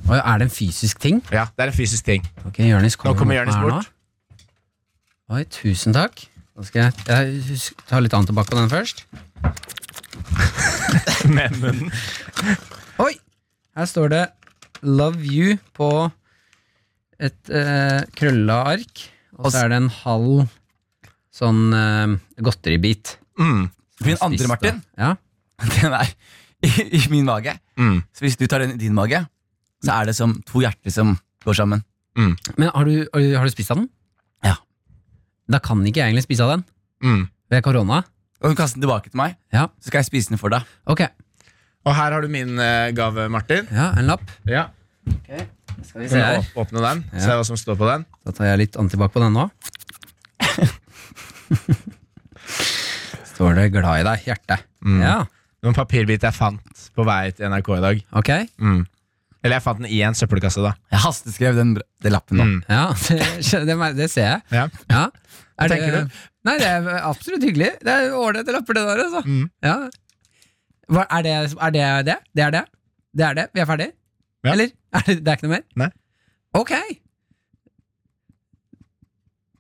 D: Og er det en fysisk ting?
E: Ja, det er en fysisk ting.
D: Ok, Jørnis kommer,
E: Nå
D: mot
E: kommer
D: meg
E: Jonis
D: her
E: bort.
D: Nå. Oi, tusen takk. Da skal jeg, jeg husk- ta litt annet tilbake på den først.
E: Med munnen.
D: Oi! Her står det 'Love you' på et eh, krølla ark. Og så er det en halv sånn eh, godteribit.
E: Mm.
B: Min andre,
D: Spist,
B: Martin,
D: da. Ja.
B: den er i, i min mage.
E: Mm.
B: Så hvis du tar den i din mage, så er det som to hjerter som går sammen.
D: Men har du, har du- har du spist av den?
B: Ja.
D: Da kan ikke jeg egentlig spise av den.
E: Mm.
D: Ved korona.
B: Og du kaster den tilbake til meg,
D: Ja.
B: så skal jeg spise den for deg.
D: Ok,
E: Og her har du min eh, gave, Martin.
D: ja, en lapp.
E: Ja.
D: Skal vi
E: Kan du åp- åpne den? Se hva som står på den?
D: Da tar jeg litt antibac på den nå. Står det 'glad i deg', hjerte.
B: Mm.
D: Ja,
E: Noen papirbiter jeg fant på vei til NRK i dag.
D: ok.
E: Mm. Eller jeg fant den i en søppelkasse, da. Mm.
B: Jeg hasteskrev den, br- den lappen nå.
D: Ja, det, skjø- det, mer- det ser jeg.
E: Ja.
D: Ja. Er
E: tenker
D: det- Nei, det er absolutt hyggelig. Det er ålreite lapper, det der, altså.
E: Mm.
D: Ja. Hva, er, det, er det det? Det er det? Det er det? Vi er ferdig?
E: Ja.
D: Eller? Er det, det er ikke noe mer?
E: Nei.
D: Ok.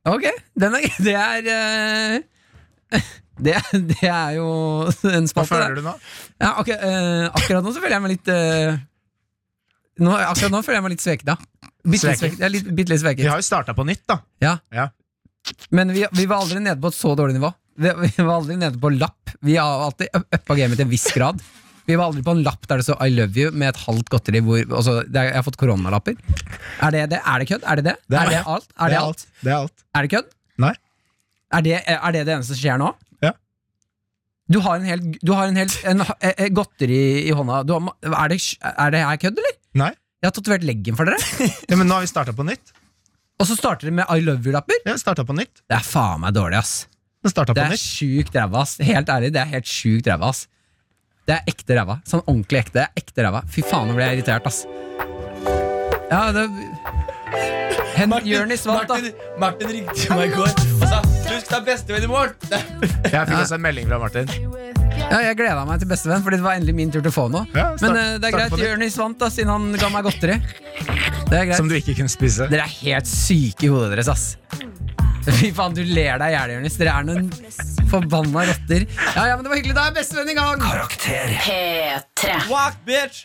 D: Ok, den er, det er eh, det, det er jo en
E: Hva
D: spalte,
E: føler
D: det.
E: du nå?
D: Ja, ok, eh, akkurat nå så føler jeg meg litt eh, nå, Akkurat nå føler jeg meg litt sveket, da. Bitte litt
E: Sveket?
D: sveket. Jeg er litt- bitte litt sveket.
E: Vi har jo starta på nytt, da.
D: Ja.
E: Ja.
D: Men vi, vi var aldri nede på et så dårlig nivå. Vi, vi var aldri nede på lapp. Vi har alltid up- uppa gamet til en viss grad. Vi var aldri på en lapp der det så 'I love you' med et halvt godteri. Hvor, altså, det er, jeg har fått koronalapper. Er det det? Er det kødd? Er det det?
E: Det er
D: er, det
E: det.
D: alt? Er det, alt?
E: Det er alt.
D: Er det kødd?
E: Nei.
D: Er det, er det det eneste som skjer nå?
E: Ja.
D: Du har en e-, hel, du har en hel en, eh, eh, godteri i hånda. Du har, ma- er det, er det her kødd, eller?
E: Nei.
D: Jeg har tatovert leggen for dere.
E: Ja, men nå har vi starta på nytt.
D: Og så starter dere med I love you-lapper.
E: Ja, vi startet på nytt.
D: Det er faen meg dårlig, ass.
E: Vi startet
D: Det
E: på
D: er
E: nytt.
D: sjukt ræva, ass. Helt ærlig, det er helt sjukt ræva, ass. Det er ekte ræva. Sånn ordentlig ekte. Det er ekte ræva. Fy faen, nå ble jeg irritert, ass. Ja, det Hen Jonis vant, da.
B: Martin, Martin ringte meg i går og sa Husk, det er bestevenn i morgen!
E: Jeg fikk også en melding fra Martin.
D: Ja, jeg gleda meg til bestevenn, fordi det var endelig min tur til å få noe.
E: Ja, start-
D: Men eh, det er
E: start
D: greit,
E: på nytt.
D: Jonis vant, da, siden han ga meg godteri. Det er greit.
E: Som du ikke kunne spise.
D: Dere er helt syke i hodet deres, ass. Fy faen, du ler deg i hjel, Jonis. Dere er noen forbanna rotter. Ja, ja, men det var hyggelig. Da er bestevenn i gang!
H: P3.
B: Fuck, bitch!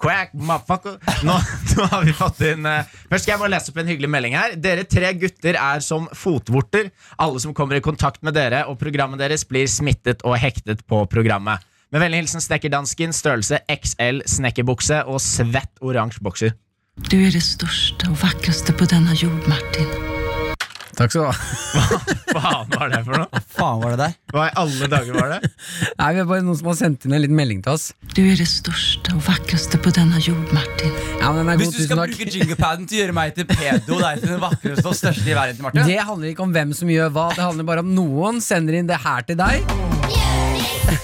E: Quack, motherfucker. nå, nå har vi fått inn eh, Først skal jeg bare lese opp en hyggelig melding her. Dere tre gutter er som fotvorter. Alle som kommer i kontakt med dere og programmet deres, blir smittet og hektet på programmet. Med vennlig hilsen snekkerdansken, størrelse XL snekkerbukse og svett oransje bokser.
I: Du är det största och vackraste på denna jord, Martin.
D: Takk skal du ha.
E: Faen, hva er det for noe?
B: Faen var det der?
E: Hva i alle dager var det?
D: Nei, vi er bare noen som har sendt inn en liten melding til oss.
I: Du är det största og vackraste på denna jord, Martin.
D: Ja, men den er
B: Hvis
D: god,
B: du skal
D: tusen
B: bruke
D: takk.
B: jinglepaden til å gjøre meg til pedo, deg til den vakreste og største i verden, Martin
D: Det handler ikke om hvem som gjør hva, det handler bare om noen sender inn det her til deg.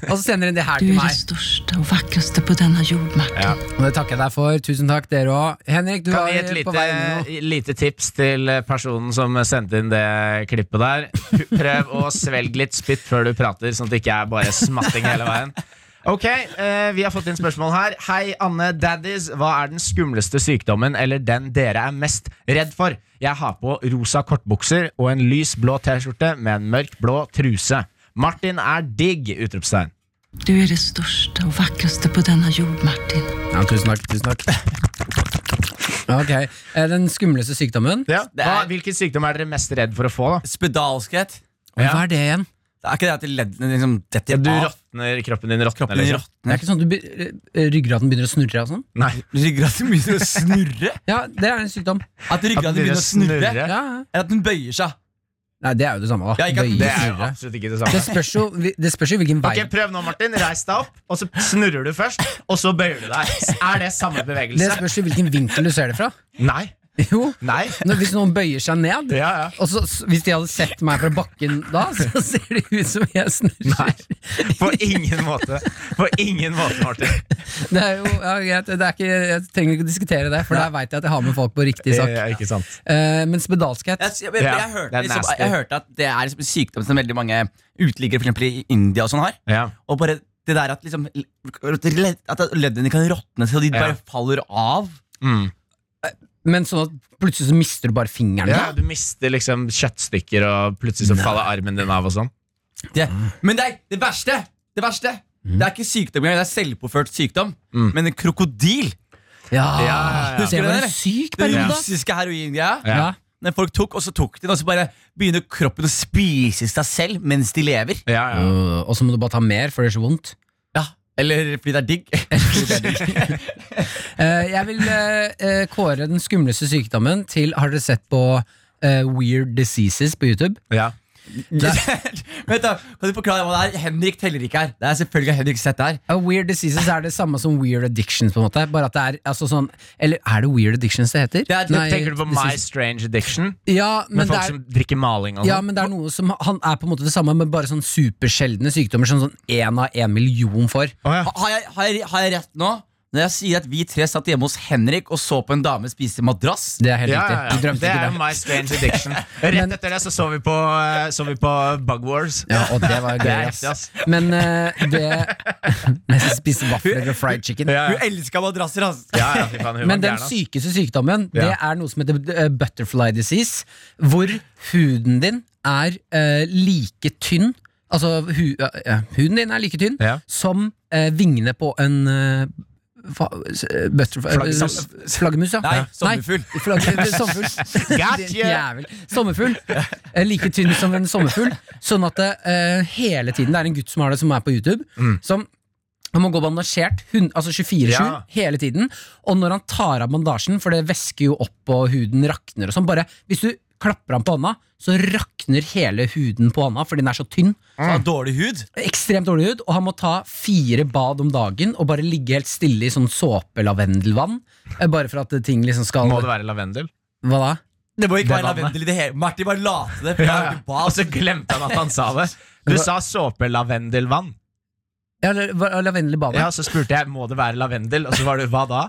D: Og så sender inn det her
I: Du
D: til
I: är det
D: meg.
I: största och vackraste på denna jord, Martin.
D: Og det takker jeg deg for. Tusen takk, dere òg. Henrik, du
E: Kan
D: var
E: jeg gi et
D: på vei med noe.
E: lite, lite tips til eh, personen som sendte inn det klippet der? Prøv å svelge litt spytt før du prater, sånn at det ikke er bare smatting hele veien. Ok, eh, Vi har fått inn spørsmål her. Hei, Anne Daddies. Hva er den skumleste sykdommen eller den dere er mest redd for? Jeg har på rosa kortbukser og en lys blå T-skjorte med en mørk blå truse. Martin er digg! utropstegn.
I: Du är det största och vackraste på denna jord, Martin.
D: Ja, tusen takk, tusen takk. Ok, eh, Den skumleste sykdommen?
E: Ja. Hva, hvilken sykdom er dere mest redd for å få? da?
B: Spedalskhet.
D: Og Hva er det igjen?
B: Det er ikke det at det leddene liksom detter
E: Ja, du
B: av.
E: råtner, kroppen din råtner.
B: Kroppen din
E: liksom.
D: Det er
B: råtner.
D: ikke sånn at du be- eh, ryggraden begynner å snurre? og sånn?
E: Nei.
B: Ryggraden begynner å snurre.
D: Ja, det er en sykdom.
B: At ryggraden begynner
E: begynner
B: å snurre.
E: å snurre.
D: Ja, ja.
B: Eller at den bøyer seg.
D: Nei, det er jo det samme. da
B: Ja, ikke at-
D: Bøye,
E: Det er jo
D: snurre.
E: absolutt ikke det samme.
D: det spørs jo det spørs jo hvilken vei
E: Ok, Prøv nå, Martin. Reis deg opp, og så snurrer du først. Og så bøyer du deg. Er det samme
D: Det
E: bevegelse?
D: spørs jo hvilken vinkel du ser det fra.
E: Nei.
D: Jo,
E: Nei.
D: når, Hvis noen bøyer seg ned
E: Ja, ja.
D: og så, s- Hvis de hadde sett meg fra bakken da, så ser det ut som jeg snurrer.
E: På ingen måte. På ingen måte, Martin.
D: Det er jo, ja, greit, det er ikke, jeg trenger ikke å diskutere det, for der veit jeg at jeg har med folk på riktig sak.
E: Eh, ikke sant.
D: Eh, men spedalskhet
B: Jeg, jeg, jeg, jeg,
E: Ja, det
B: hørte,
E: er
B: liksom,
E: nasty.
B: jeg hørte at det er liksom en sykdom som veldig mange uteliggere for eksempel i India og sånn har.
E: Ja.
B: Og bare det der at, liksom, ledd- at leddene kan råtne så de
E: Ja.
B: bare faller av.
E: Mm.
D: Men sånn at plutselig så mister du bare fingeren.
E: ja, Du mister liksom kjøttstykker, og plutselig så faller armen din av og sånn.
B: Det. Men det, er- det verste Det verste Det er ikke sykdom engang, det er selvpåført sykdom.
E: Mm.
B: Men en krokodil
D: Ja,
E: Ja, ja, ja.
D: Det
B: Husker du det,
D: var
B: eller?
D: en syk
B: Den
D: periode. ass.
B: russiske heroingreia.
E: Ja.
D: Ja.
B: Når folk tok, og så tok de den, og så bare begynner kroppen å spise seg selv mens de lever.
E: Ja, ja.
D: Øh, og så må du bare ta mer, for det gjør så vondt.
B: Ja, Eller fordi det er digg.
D: Eh, jeg vil eh, eh, kåre den skumleste sykdommen til Har dere sett på eh, Weird Diseases på YouTube?
E: ja.
B: Vent da, Kan du forklare hva det er? Henrik teller ikke her. Det er selvfølgelig Henrik sett det her.
D: Ja, weird Diseases er det samme som Weird Addictions, på en måte. Bare at det er altså, sånn Eller er det Weird Addictions det heter?
B: Det er-
D: Nei,
E: Tenker du på My
D: diseases.
E: Strange Addiction?
D: Ja,
E: Med
D: men det
E: folk
D: er
E: som drikker maling og
D: ja,
E: sånn?
D: men det er noe som Han er på en måte det samme, men bare sånn supersjeldne sykdommer som sånn én av en million får.
E: Å, ja.
B: Ha- Har jeg, har, jeg, har jeg rett nå? Når jeg sier at vi tre satt hjemme hos Henrik og så på en dame spise madrass?
D: Det er helt
E: Ja, ja,
D: riktig.
E: ja.
D: Du drømte
E: Det er
D: ikke
E: jo
D: det.
E: My Strange Addiction. Rett etter det så så vi på, eh, så vi på Bug Wars.
D: Ja, og det var
E: Det
D: gøy,
E: er
D: ass.
E: heftig, ass.
D: Men eh, det Jeg spiste vafler og fried chicken.
E: Ja, ja.
B: Hun elska madrasser, altså!
E: Ja, ja, fy faen, hun var
D: Men den
E: gæren, ass.
D: sykeste sykdommen, det
E: Ja.
D: er noe som heter eh, butterfly disease, hvor huden din er eh, like tynn Altså hu, eh, huden din er like tynn
E: Ja.
D: som eh, vingene på en eh, fa, s- eh, butterfly
B: Flaggermus.
D: eh, Flaggermus, ja.
B: Nei,
D: Ja.
B: sommerfugl.
D: Nei, flagg- eh, sommerfugl.
E: Got
D: Din
E: you.
D: Jævel. Sommerfugl. Eh, like tynn som en sommerfugl. Sånn at det eh, hele tiden Det er en gutt som har det, som er på YouTube.
E: Mm.
D: Som han må gå bandasjert hun- altså 24-7
E: Ja.
D: hele tiden. Og når han tar av bandasjen, for det væsker jo opp og huden rakner og sånn, bare hvis du klapper han på hånda, så rakner hele huden på hånda fordi den er så tynn.
B: Så har dårlig hud.
D: Ekstremt dårlig hud, og han må ta fire bad om dagen og bare ligge helt stille i sånn såpelavendelvann. eh, Bare for at eh, ting liksom skal
E: Må det være lavendel?
D: Hva da?
B: Det må ikke
E: Det
B: være
E: vannet.
B: lavendel i det hele. Martin bare late det. For jeg har ikke bad.
E: Og så glemte han at han sa det. Du sa såpelavendelvann.
D: Ja, la- hva- Lavendel i badet?
E: Ja,
D: Ja,
E: Så spurte jeg må det være lavendel, og så var du hva da?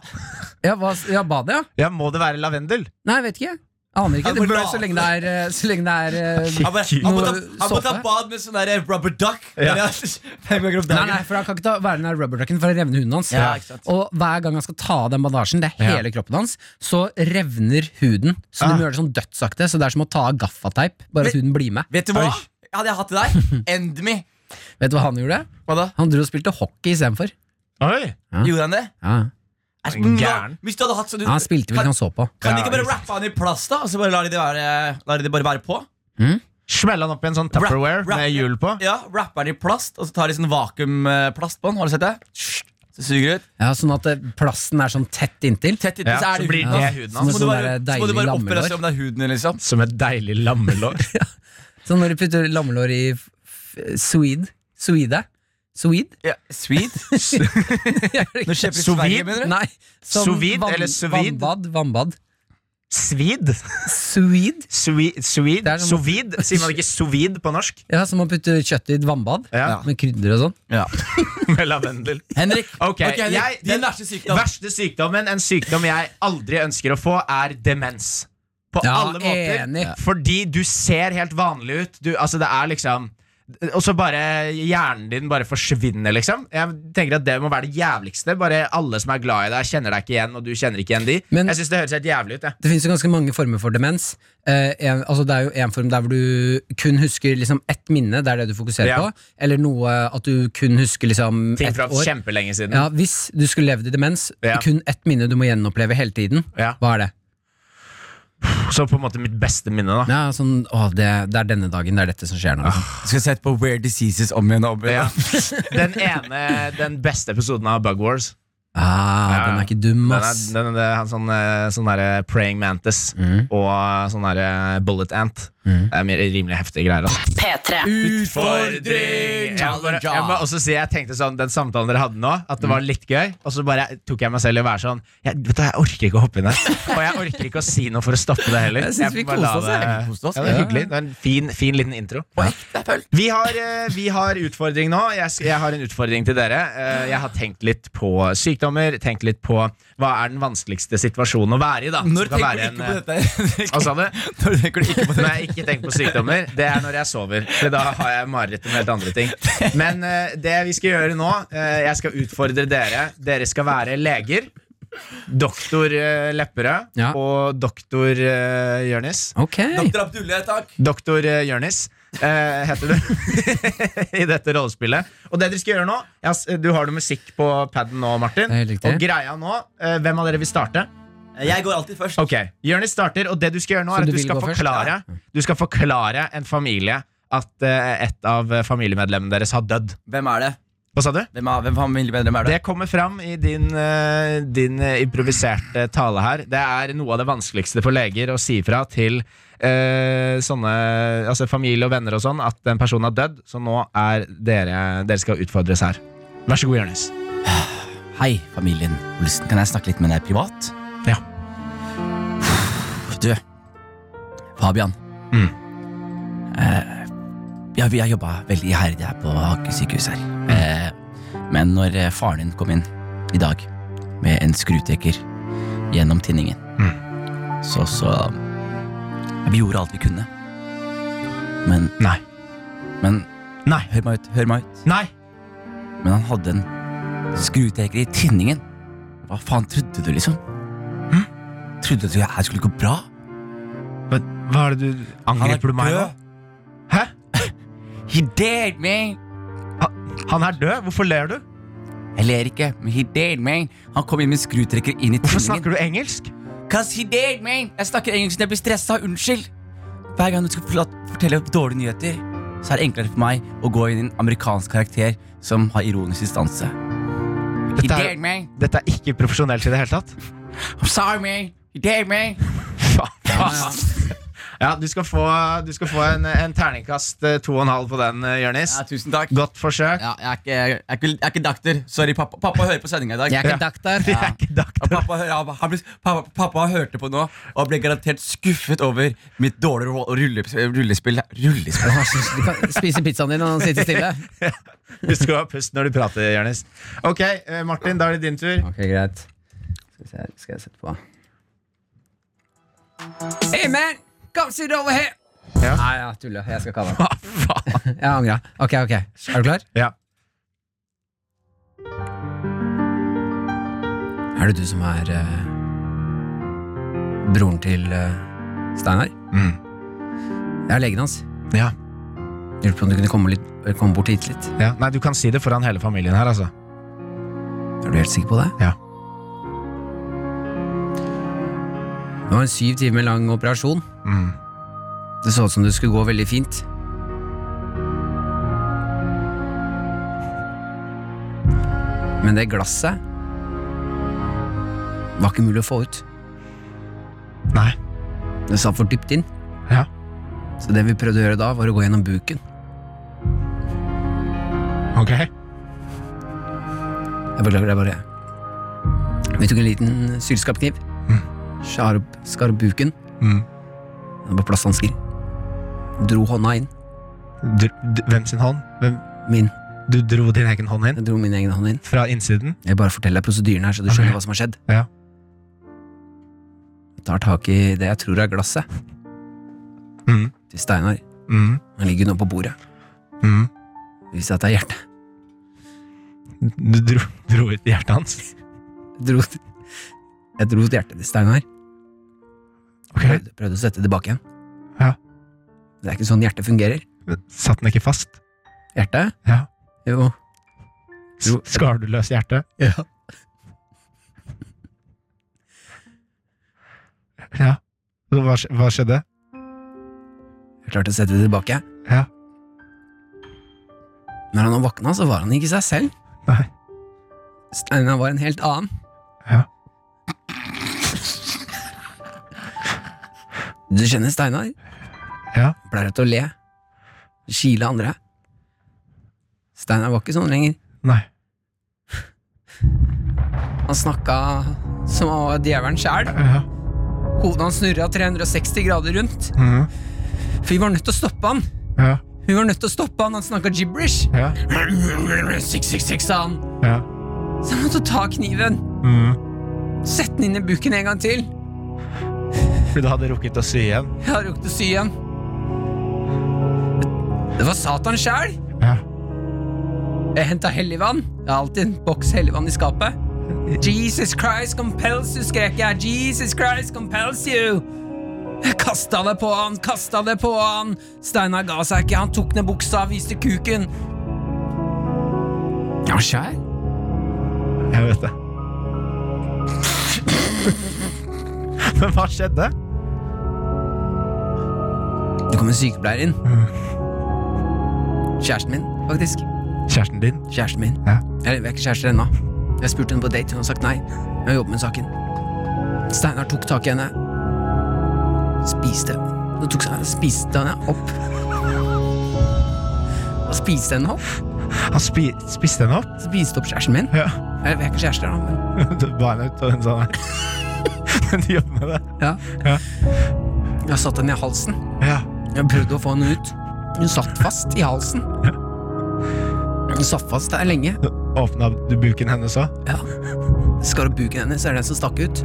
D: hva, ja badet, ja.
E: Ja, må det være lavendel?
D: Nei, jeg vet ikke. Aner ikke.
B: Han
D: Det
B: bare
D: burde,
B: la-
D: så lenge det er, eh, så lenge det er eh,
B: Han, bare, han, må ta, han må ta
D: Såpe.
B: bad med sånn der rubber duck.
E: Ja.
B: Fem ganger om
D: Nei,
B: dagen.
D: nei, for han kan ikke ta, være den der rubberducken for å revne huden hans.
B: Ja, ikke sant.
D: Og hver gang han skal ta av den bandasjen, det er hele kroppen hans, så revner huden. Så du må gjøre det sånn dødsaktig, så det er som å ta av gaffateip, bare
B: Ah. Men-
D: at huden blir med.
B: Vet du hva? Hadde jeg hatt det der, end me.
D: Vet du hva han gjorde?
B: Hva da?
D: Han dro og spilte hockey istedenfor.
E: Oi!
B: Gjorde han det?
D: Ja.
B: Altså, nå-
E: Gæren.
B: Hvis du hadde hatt sånn
D: Ja, han spilte
B: Kan,
D: vel ikke han så på.
B: kan de ikke bare rappe han i plast, da? Og så bare lar de det, være, lar de det bare være på?
E: Smell han opp i en sånn Tupperware
B: Wrap- wrap-
E: med hjul på.
B: Ja, Rapper han i plast, og så tar de sånn vakuumplast på den. Har du sett det? Så suger det ut.
D: Ja, Sånn at eh, plasten er sånn tett inntil.
B: Tett inntil,
E: Ja,
B: så er
E: så
B: det
E: blir
B: huden.
E: det
B: hans.
E: huden
B: Så
E: hans.
B: må du
D: Sånn
B: bare,
D: der
B: så må du bare
D: deilig
B: operere og
D: lammelår.
B: se om det er huden din, liksom.
E: Som et deilig lammelår.
D: Så når du putter lammelår i f- f- swede Swede? Swede?
B: Ja, sweet.
D: Jeg gjør det
B: Når
D: ikke.
B: kjøper du Sverige,
E: Sous-vide?
B: mener du?
D: Nei. som
E: Sous vide
D: vann-
E: eller sous vide?
D: Vannbad. vannbad.
E: Svid?
D: Swede? Det
E: Sweet?
D: er
E: Sweed?
D: sånn-
E: Sovid? Sier man ikke sovid på norsk?
D: Ja, som å putte kjøttet i et vannbad.
E: Ja.
D: Med krydder og sånn.
B: Ja.
E: Med lavendel.
B: Henrik,
E: Ok,
B: ok, Henrik,
E: jeg,
B: din
E: den
B: verste sykdom.
E: verste sykdommen, en sykdom jeg aldri ønsker å få, er demens. På
D: Ja,
E: alle måter.
D: enig.
E: Fordi du ser helt vanlig ut. Du, altså, det er liksom og så bare hjernen din bare forsvinner, liksom. Jeg tenker at Det må være det jævligste. Bare alle som er glad i deg, kjenner deg ikke igjen, og du kjenner ikke igjen de.
D: Men-
E: jeg synes det høres helt jævlig ut. Jeg.
D: Det finnes jo ganske mange former for demens. Eh, en, altså det er jo en form der hvor du kun husker liksom ett minne, det er det du fokuserer
E: Ja.
D: på. Eller noe at du kun husker liksom
E: Ting
D: ett
E: fra
D: år.
E: kjempelenge siden.
D: Ja, hvis du skulle levd i demens,
E: Ja.
D: kun ett minne du må gjenoppleve hele tiden.
E: Ja.
D: Hva er det?
E: Så på en måte mitt beste minne, da.
D: Ja, sånn, å, det, det er denne dagen, det er dette som skjer nå. liksom.
B: Skal sette på Weird Diseases om igjen. og om igjen.
E: Ja. Den ene, den beste episoden av Bug Wars.
D: Ah,
E: Ja,
D: Den er ikke dum,
E: Den er,
D: ass. Mm.
E: den, det er han sånn, eh, sånn derre praying mantis og sånn derre bullet ant. Det er mer- rimelig heftige greier. Altså.
H: P3.
E: Utfordring! Jeg, må bare, jeg må også si jeg tenkte sånn Den samtalen dere hadde nå, at det var
D: Mm.
E: litt gøy. Og så bare tok jeg meg selv i å være sånn jeg, Vet du, jeg orker ikke å hoppe inn her. Og jeg orker ikke å si noe for å stoppe det heller.
D: Jeg synes vi
E: får bare la
D: koste oss,
E: det-
D: jeg.
B: Vi koste oss.
E: Ja, det er hyggelig. Det er en fin, fin liten intro. Vi har, eh, vi har utfordring nå. Jeg, sk- jeg har en utfordring til dere. Eh, Jeg har tenkt litt på sykdommer. Tenkt litt på hva er den vanskeligste situasjonen å være i, da. som
B: Når
E: kan
B: tenker
E: være
B: du
E: en,
B: ikke på
E: eh,
B: dette? Henrik?
E: Hva sa du?
B: Når tenker du ikke på
E: Når jeg ikke tenker på sykdommer, det er når jeg sover. For da har jeg mareritt om helt andre ting. Men eh, det vi skal gjøre nå, eh, jeg skal utfordre dere. Dere skal være leger. Doktor eh, Lepperød
D: Ja.
E: og doktor eh, Jørnis.
D: Ok.
B: Dr. Abdullah, takk.
E: Doktor eh, Jørnis eh, heter du i dette rollespillet. Og det dere skal gjøre nå ja, s- Du har noe musikk på paden nå, Martin.
D: Det er helt riktig.
E: Og greia nå eh, Hvem av dere vil starte?
B: Jeg går alltid først.
E: Ok, Jørnis starter, og det du skal gjøre nå,
D: Så
E: er at
D: du
E: du
D: vil
E: skal,
D: gå først?
E: forklare, du skal forklare en familie at eh, et av eh, familiemedlemmene deres har dødd.
B: Hvem er det?
E: Hva sa du?
B: Hvem er, hvem familiemedlem er det?
E: Det kommer fram i din, eh, din eh, improviserte tale her. Det er noe av det vanskeligste for leger å si fra til eh, sånne altså familie og venner og sånn at en person har dødd. Så nå er dere Dere skal utfordres her. Vær så god, Jonis.
B: Hei, familien Olsen. Kan jeg snakke litt med deg privat?
E: Ja.
B: Du, Fabian.
E: Mm.
B: Eh, ja, vi har jobba veldig iherdig her på Aker sykehus her. Eh, men når eh, faren din kom inn i dag med en skrutrekker gjennom tinningen, så så Vi gjorde alt vi kunne. Men
E: Nei.
B: Men
E: Nei.
B: Hør meg ut. Hør meg ut.
E: Nei!
B: Men han hadde en skrutreker i tinningen. Hva faen trodde du, liksom?
E: Hm?
B: Trodde du det her skulle gå bra?
E: Hva, hva er det du Angriper du meg nå? Hæ?
B: He dared me!
E: Han er død? Hvorfor ler du?
B: Jeg ler ikke, men he dared me. Han kom inn med skrutrekker inn i
E: Hvorfor
B: tinningen.
E: snakker du engelsk?
B: Cause he dared me! Jeg snakker engelsk når jeg blir stressa. Unnskyld. Hver gang du skal forla- fortelle dårlige nyheter, så er det enklere for meg å gå inn i en amerikansk karakter som har ironisk distanse. He
E: Dette er-
B: dared me!
E: Dette er ikke profesjonelt i det hele tatt.
B: I'm sorry, me! He dared me!
E: Faen. Ja, Ja, du skal få, du skal få en, en terningkast eh, to og en halv på den, eh, Jørnis.
B: Ja, tusen takk.
E: Godt forsøk.
B: Ja, jeg, er ikke, jeg, er ikke, jeg er ikke doktor. Sorry, pappa, pappa hører på sendinga i dag.
D: Jeg er ikke doktor.
B: Ja. Og Pappa, hø- ja, han ble, pappa, pappa hørte på nå og ble garantert skuffet over mitt dårlige ro- rulle- rullespill. Rullespill?
D: Du kan spise pizzaen din og sitte stille.
E: Du skal ha pust når du prater, Jørnis. Ok, eh, Martin, da er det din tur.
D: Ok, greit. Skal, vi se, skal jeg sette på Hey man, come sit over here!
E: Ja.
D: Nei, ja, tulla. Jeg skal kalle den. Jeg angra. Ok, ok. Er du klar?
E: Ja.
D: Er det du som er eh, broren til eh, Steinar?
E: Mm.
D: Jeg er legen hans.
E: Ja.
D: Lurte på om du kunne komme, litt, komme bort hit litt.
E: Ja. Nei, du kan si det foran hele familien her, altså.
D: Er du helt sikker på det?
E: Ja.
D: Det var en syv timer lang operasjon.
E: Mm.
D: Det så ut som det skulle gå veldig fint. Men det glasset var ikke mulig å få ut.
E: Nei.
D: Det satt for dypt inn.
E: Ja.
D: Så det vi prøvde å gjøre da, var å gå gjennom buken.
E: Ok.
D: Jeg beklager, det er bare jeg. Vi tok en liten sylskarpkniv. Skar opp skar opp buken.
E: Mm.
D: Det var plasthansker. Dro hånda inn.
E: Du, du, hvem sin hånd? Hvem?
D: Min.
E: Du dro din egen hånd inn?
D: Jeg dro min egen hånd inn.
E: Fra innsiden?
D: Jeg bare forteller deg prosedyren her, så du skjønner hva som har skjedd.
E: Ja.
D: Jeg tar tak i det jeg tror er glasset
E: Mm.
D: til Steinar.
E: Mm.
D: Han ligger nå på bordet.
E: Mm.
D: Det viser seg at det er hjertet.
E: Du dro, dro ut hjertet hans?
D: Jeg dro, jeg dro til hjertet til Steinar.
E: Ok.
D: Prøvde, prøvde å sette det tilbake igjen.
E: Ja.
D: Det er ikke sånn hjertet fungerer.
E: Satt den ikke fast?
D: Hjertet?
E: Ja.
D: Jo.
E: S- Skar du løs hjertet?
D: Ja.
E: Ja. Hva, sk- hva skjedde?
D: Jeg klarte å sette det tilbake.
E: Ja.
D: Når han våkna, så var han ikke seg selv.
E: Nei.
D: Steinar var en helt annen.
E: Ja.
D: Du kjenner Steinar.
E: Ja.
D: Han Pleier til å le. Kile andre. Steinar var ikke sånn lenger.
E: Nei.
D: Han snakka som han var djevelen sjæl.
E: Ja.
D: Hodet hans snurra 360 grader rundt.
E: Mm.
D: For vi var nødt til å stoppe han.
E: Ja.
D: Vi var nødt til å stoppe han. Han snakka gibberish.
E: Ja.
D: 666, sa han.
E: Ja.
D: Så jeg måtte ta kniven,
E: Mm.
D: sette den inn i buken en gang til.
E: For du hadde rukket å sy igjen?
D: Jeg har rukket å sy igjen. Det var Satan sjæl.
E: Ja.
D: Jeg henta helligvann. Jeg har alltid en boks helligvann i skapet. Jesus Christ compels you, skrek jeg. Jesus Christ compels you. Jeg kasta det på han, kasta det på han. Steinar ga seg ikke. Han tok ned buksa, viste kuken. Jeg var skjær.
E: Jeg vet det. Men hva skjedde?
D: Det kom en sykepleier inn. Kjæresten min, faktisk.
E: Kjæresten din?
D: Kjæresten min.
E: Ja.
D: Eller, vi er ikke kjærester ennå. Jeg spurte henne på date, hun har sagt nei. Hun har jobbet med saken. Steinar tok tak i henne. Spiste Nå tok han spiste henne opp. Og spiste henne opp.
E: Han spi spiste henne opp?
D: Spiste opp kjæresten min.
E: Ja.
D: Eller, vi er ikke kjærester ennå, men
E: Du ba henne ut, og hun sa nei. Men du jobber med det?
D: ja.
E: Ja.
D: Jeg har satt henne i halsen.
E: Ja.
D: Jeg prøvde å få henne ut. Hun satt fast i halsen. Hun satt fast der lenge.
E: Åpna du buken hennes òg?
D: Ja. Skar opp buken hennes, er den som stakk ut.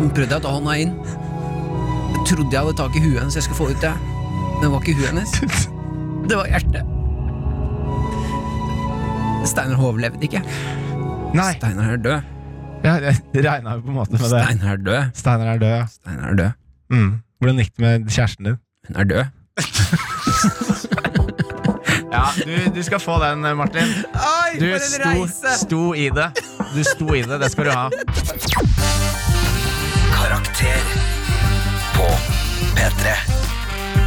D: Hun prøvde jeg å ta hånda inn. Jeg trodde jeg hadde tak i huet hennes, jeg skulle få ut det. Men det var ikke huet hennes. Det var hjertet. Steinar overlevde ikke.
E: Nei.
D: Steinar er død.
E: Ja, jeg regna jo på en måte med det.
D: Steinar er død.
E: Steinar er død, ja.
D: Steinar er død.
E: Mm. Hvordan gikk det med kjæresten din?
D: Hun er død.
E: Ja, du, du skal få den, Martin.
D: Oi,
E: Du sto, sto i det. Du sto i det. Det skal du ha.
A: Karakter på P3.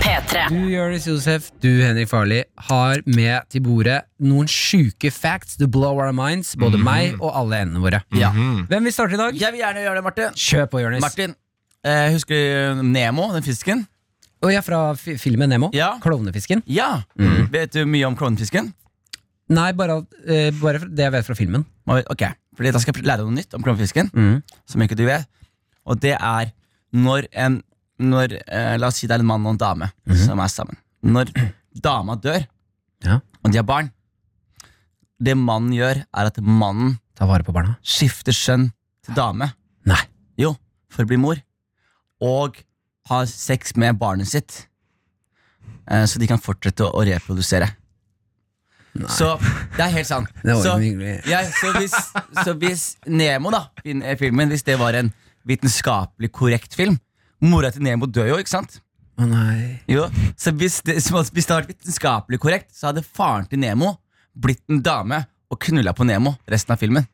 H: P3.
D: Du, Jonis Josef, du, Henrik Farli, har med til bordet noen sjuke facts to blow our minds, både meg og alle endene våre. Hvem vil starte i dag?
B: Jeg vil gjerne gjøre det, Martin.
D: Kjør på, Jonis.
B: Martin, eh, Husker du Nemo, den fisken?
D: Og jeg er fra fi- filmen Nemo.
B: Ja.
D: Klovnefisken.
B: Ja! Vet du mye om klovnefisken?
D: Nei, bare, eh, bare det jeg vet fra filmen.
B: Må vi- Ok, fordi Da skal jeg lære deg noe nytt om klovnefisken. Som ikke du vet. Og det er når en når, eh, La oss si det er en mann og en dame som er sammen. Når dama dør,
D: Ja.
B: og de har barn Det mannen gjør, er at mannen
D: Ta vare på barna.
B: skifter skjønn til dame.
D: Nei.
B: Jo, for å bli mor. Og har sex med barnet sitt. Eh, Så de kan fortsette å å reprodusere. Så det er helt sant.
D: Det var
B: så,
D: jo hyggelig.
B: ja, så, hvis, så hvis Nemo, da, fin- eh, filmen, hvis det var en vitenskapelig korrekt film Mora til Nemo dør jo, ikke sant?
D: Å nei.
B: Jo, så hvis det, så hvis det hadde vært vitenskapelig korrekt, så hadde faren til Nemo blitt en dame og knulla på Nemo resten av filmen.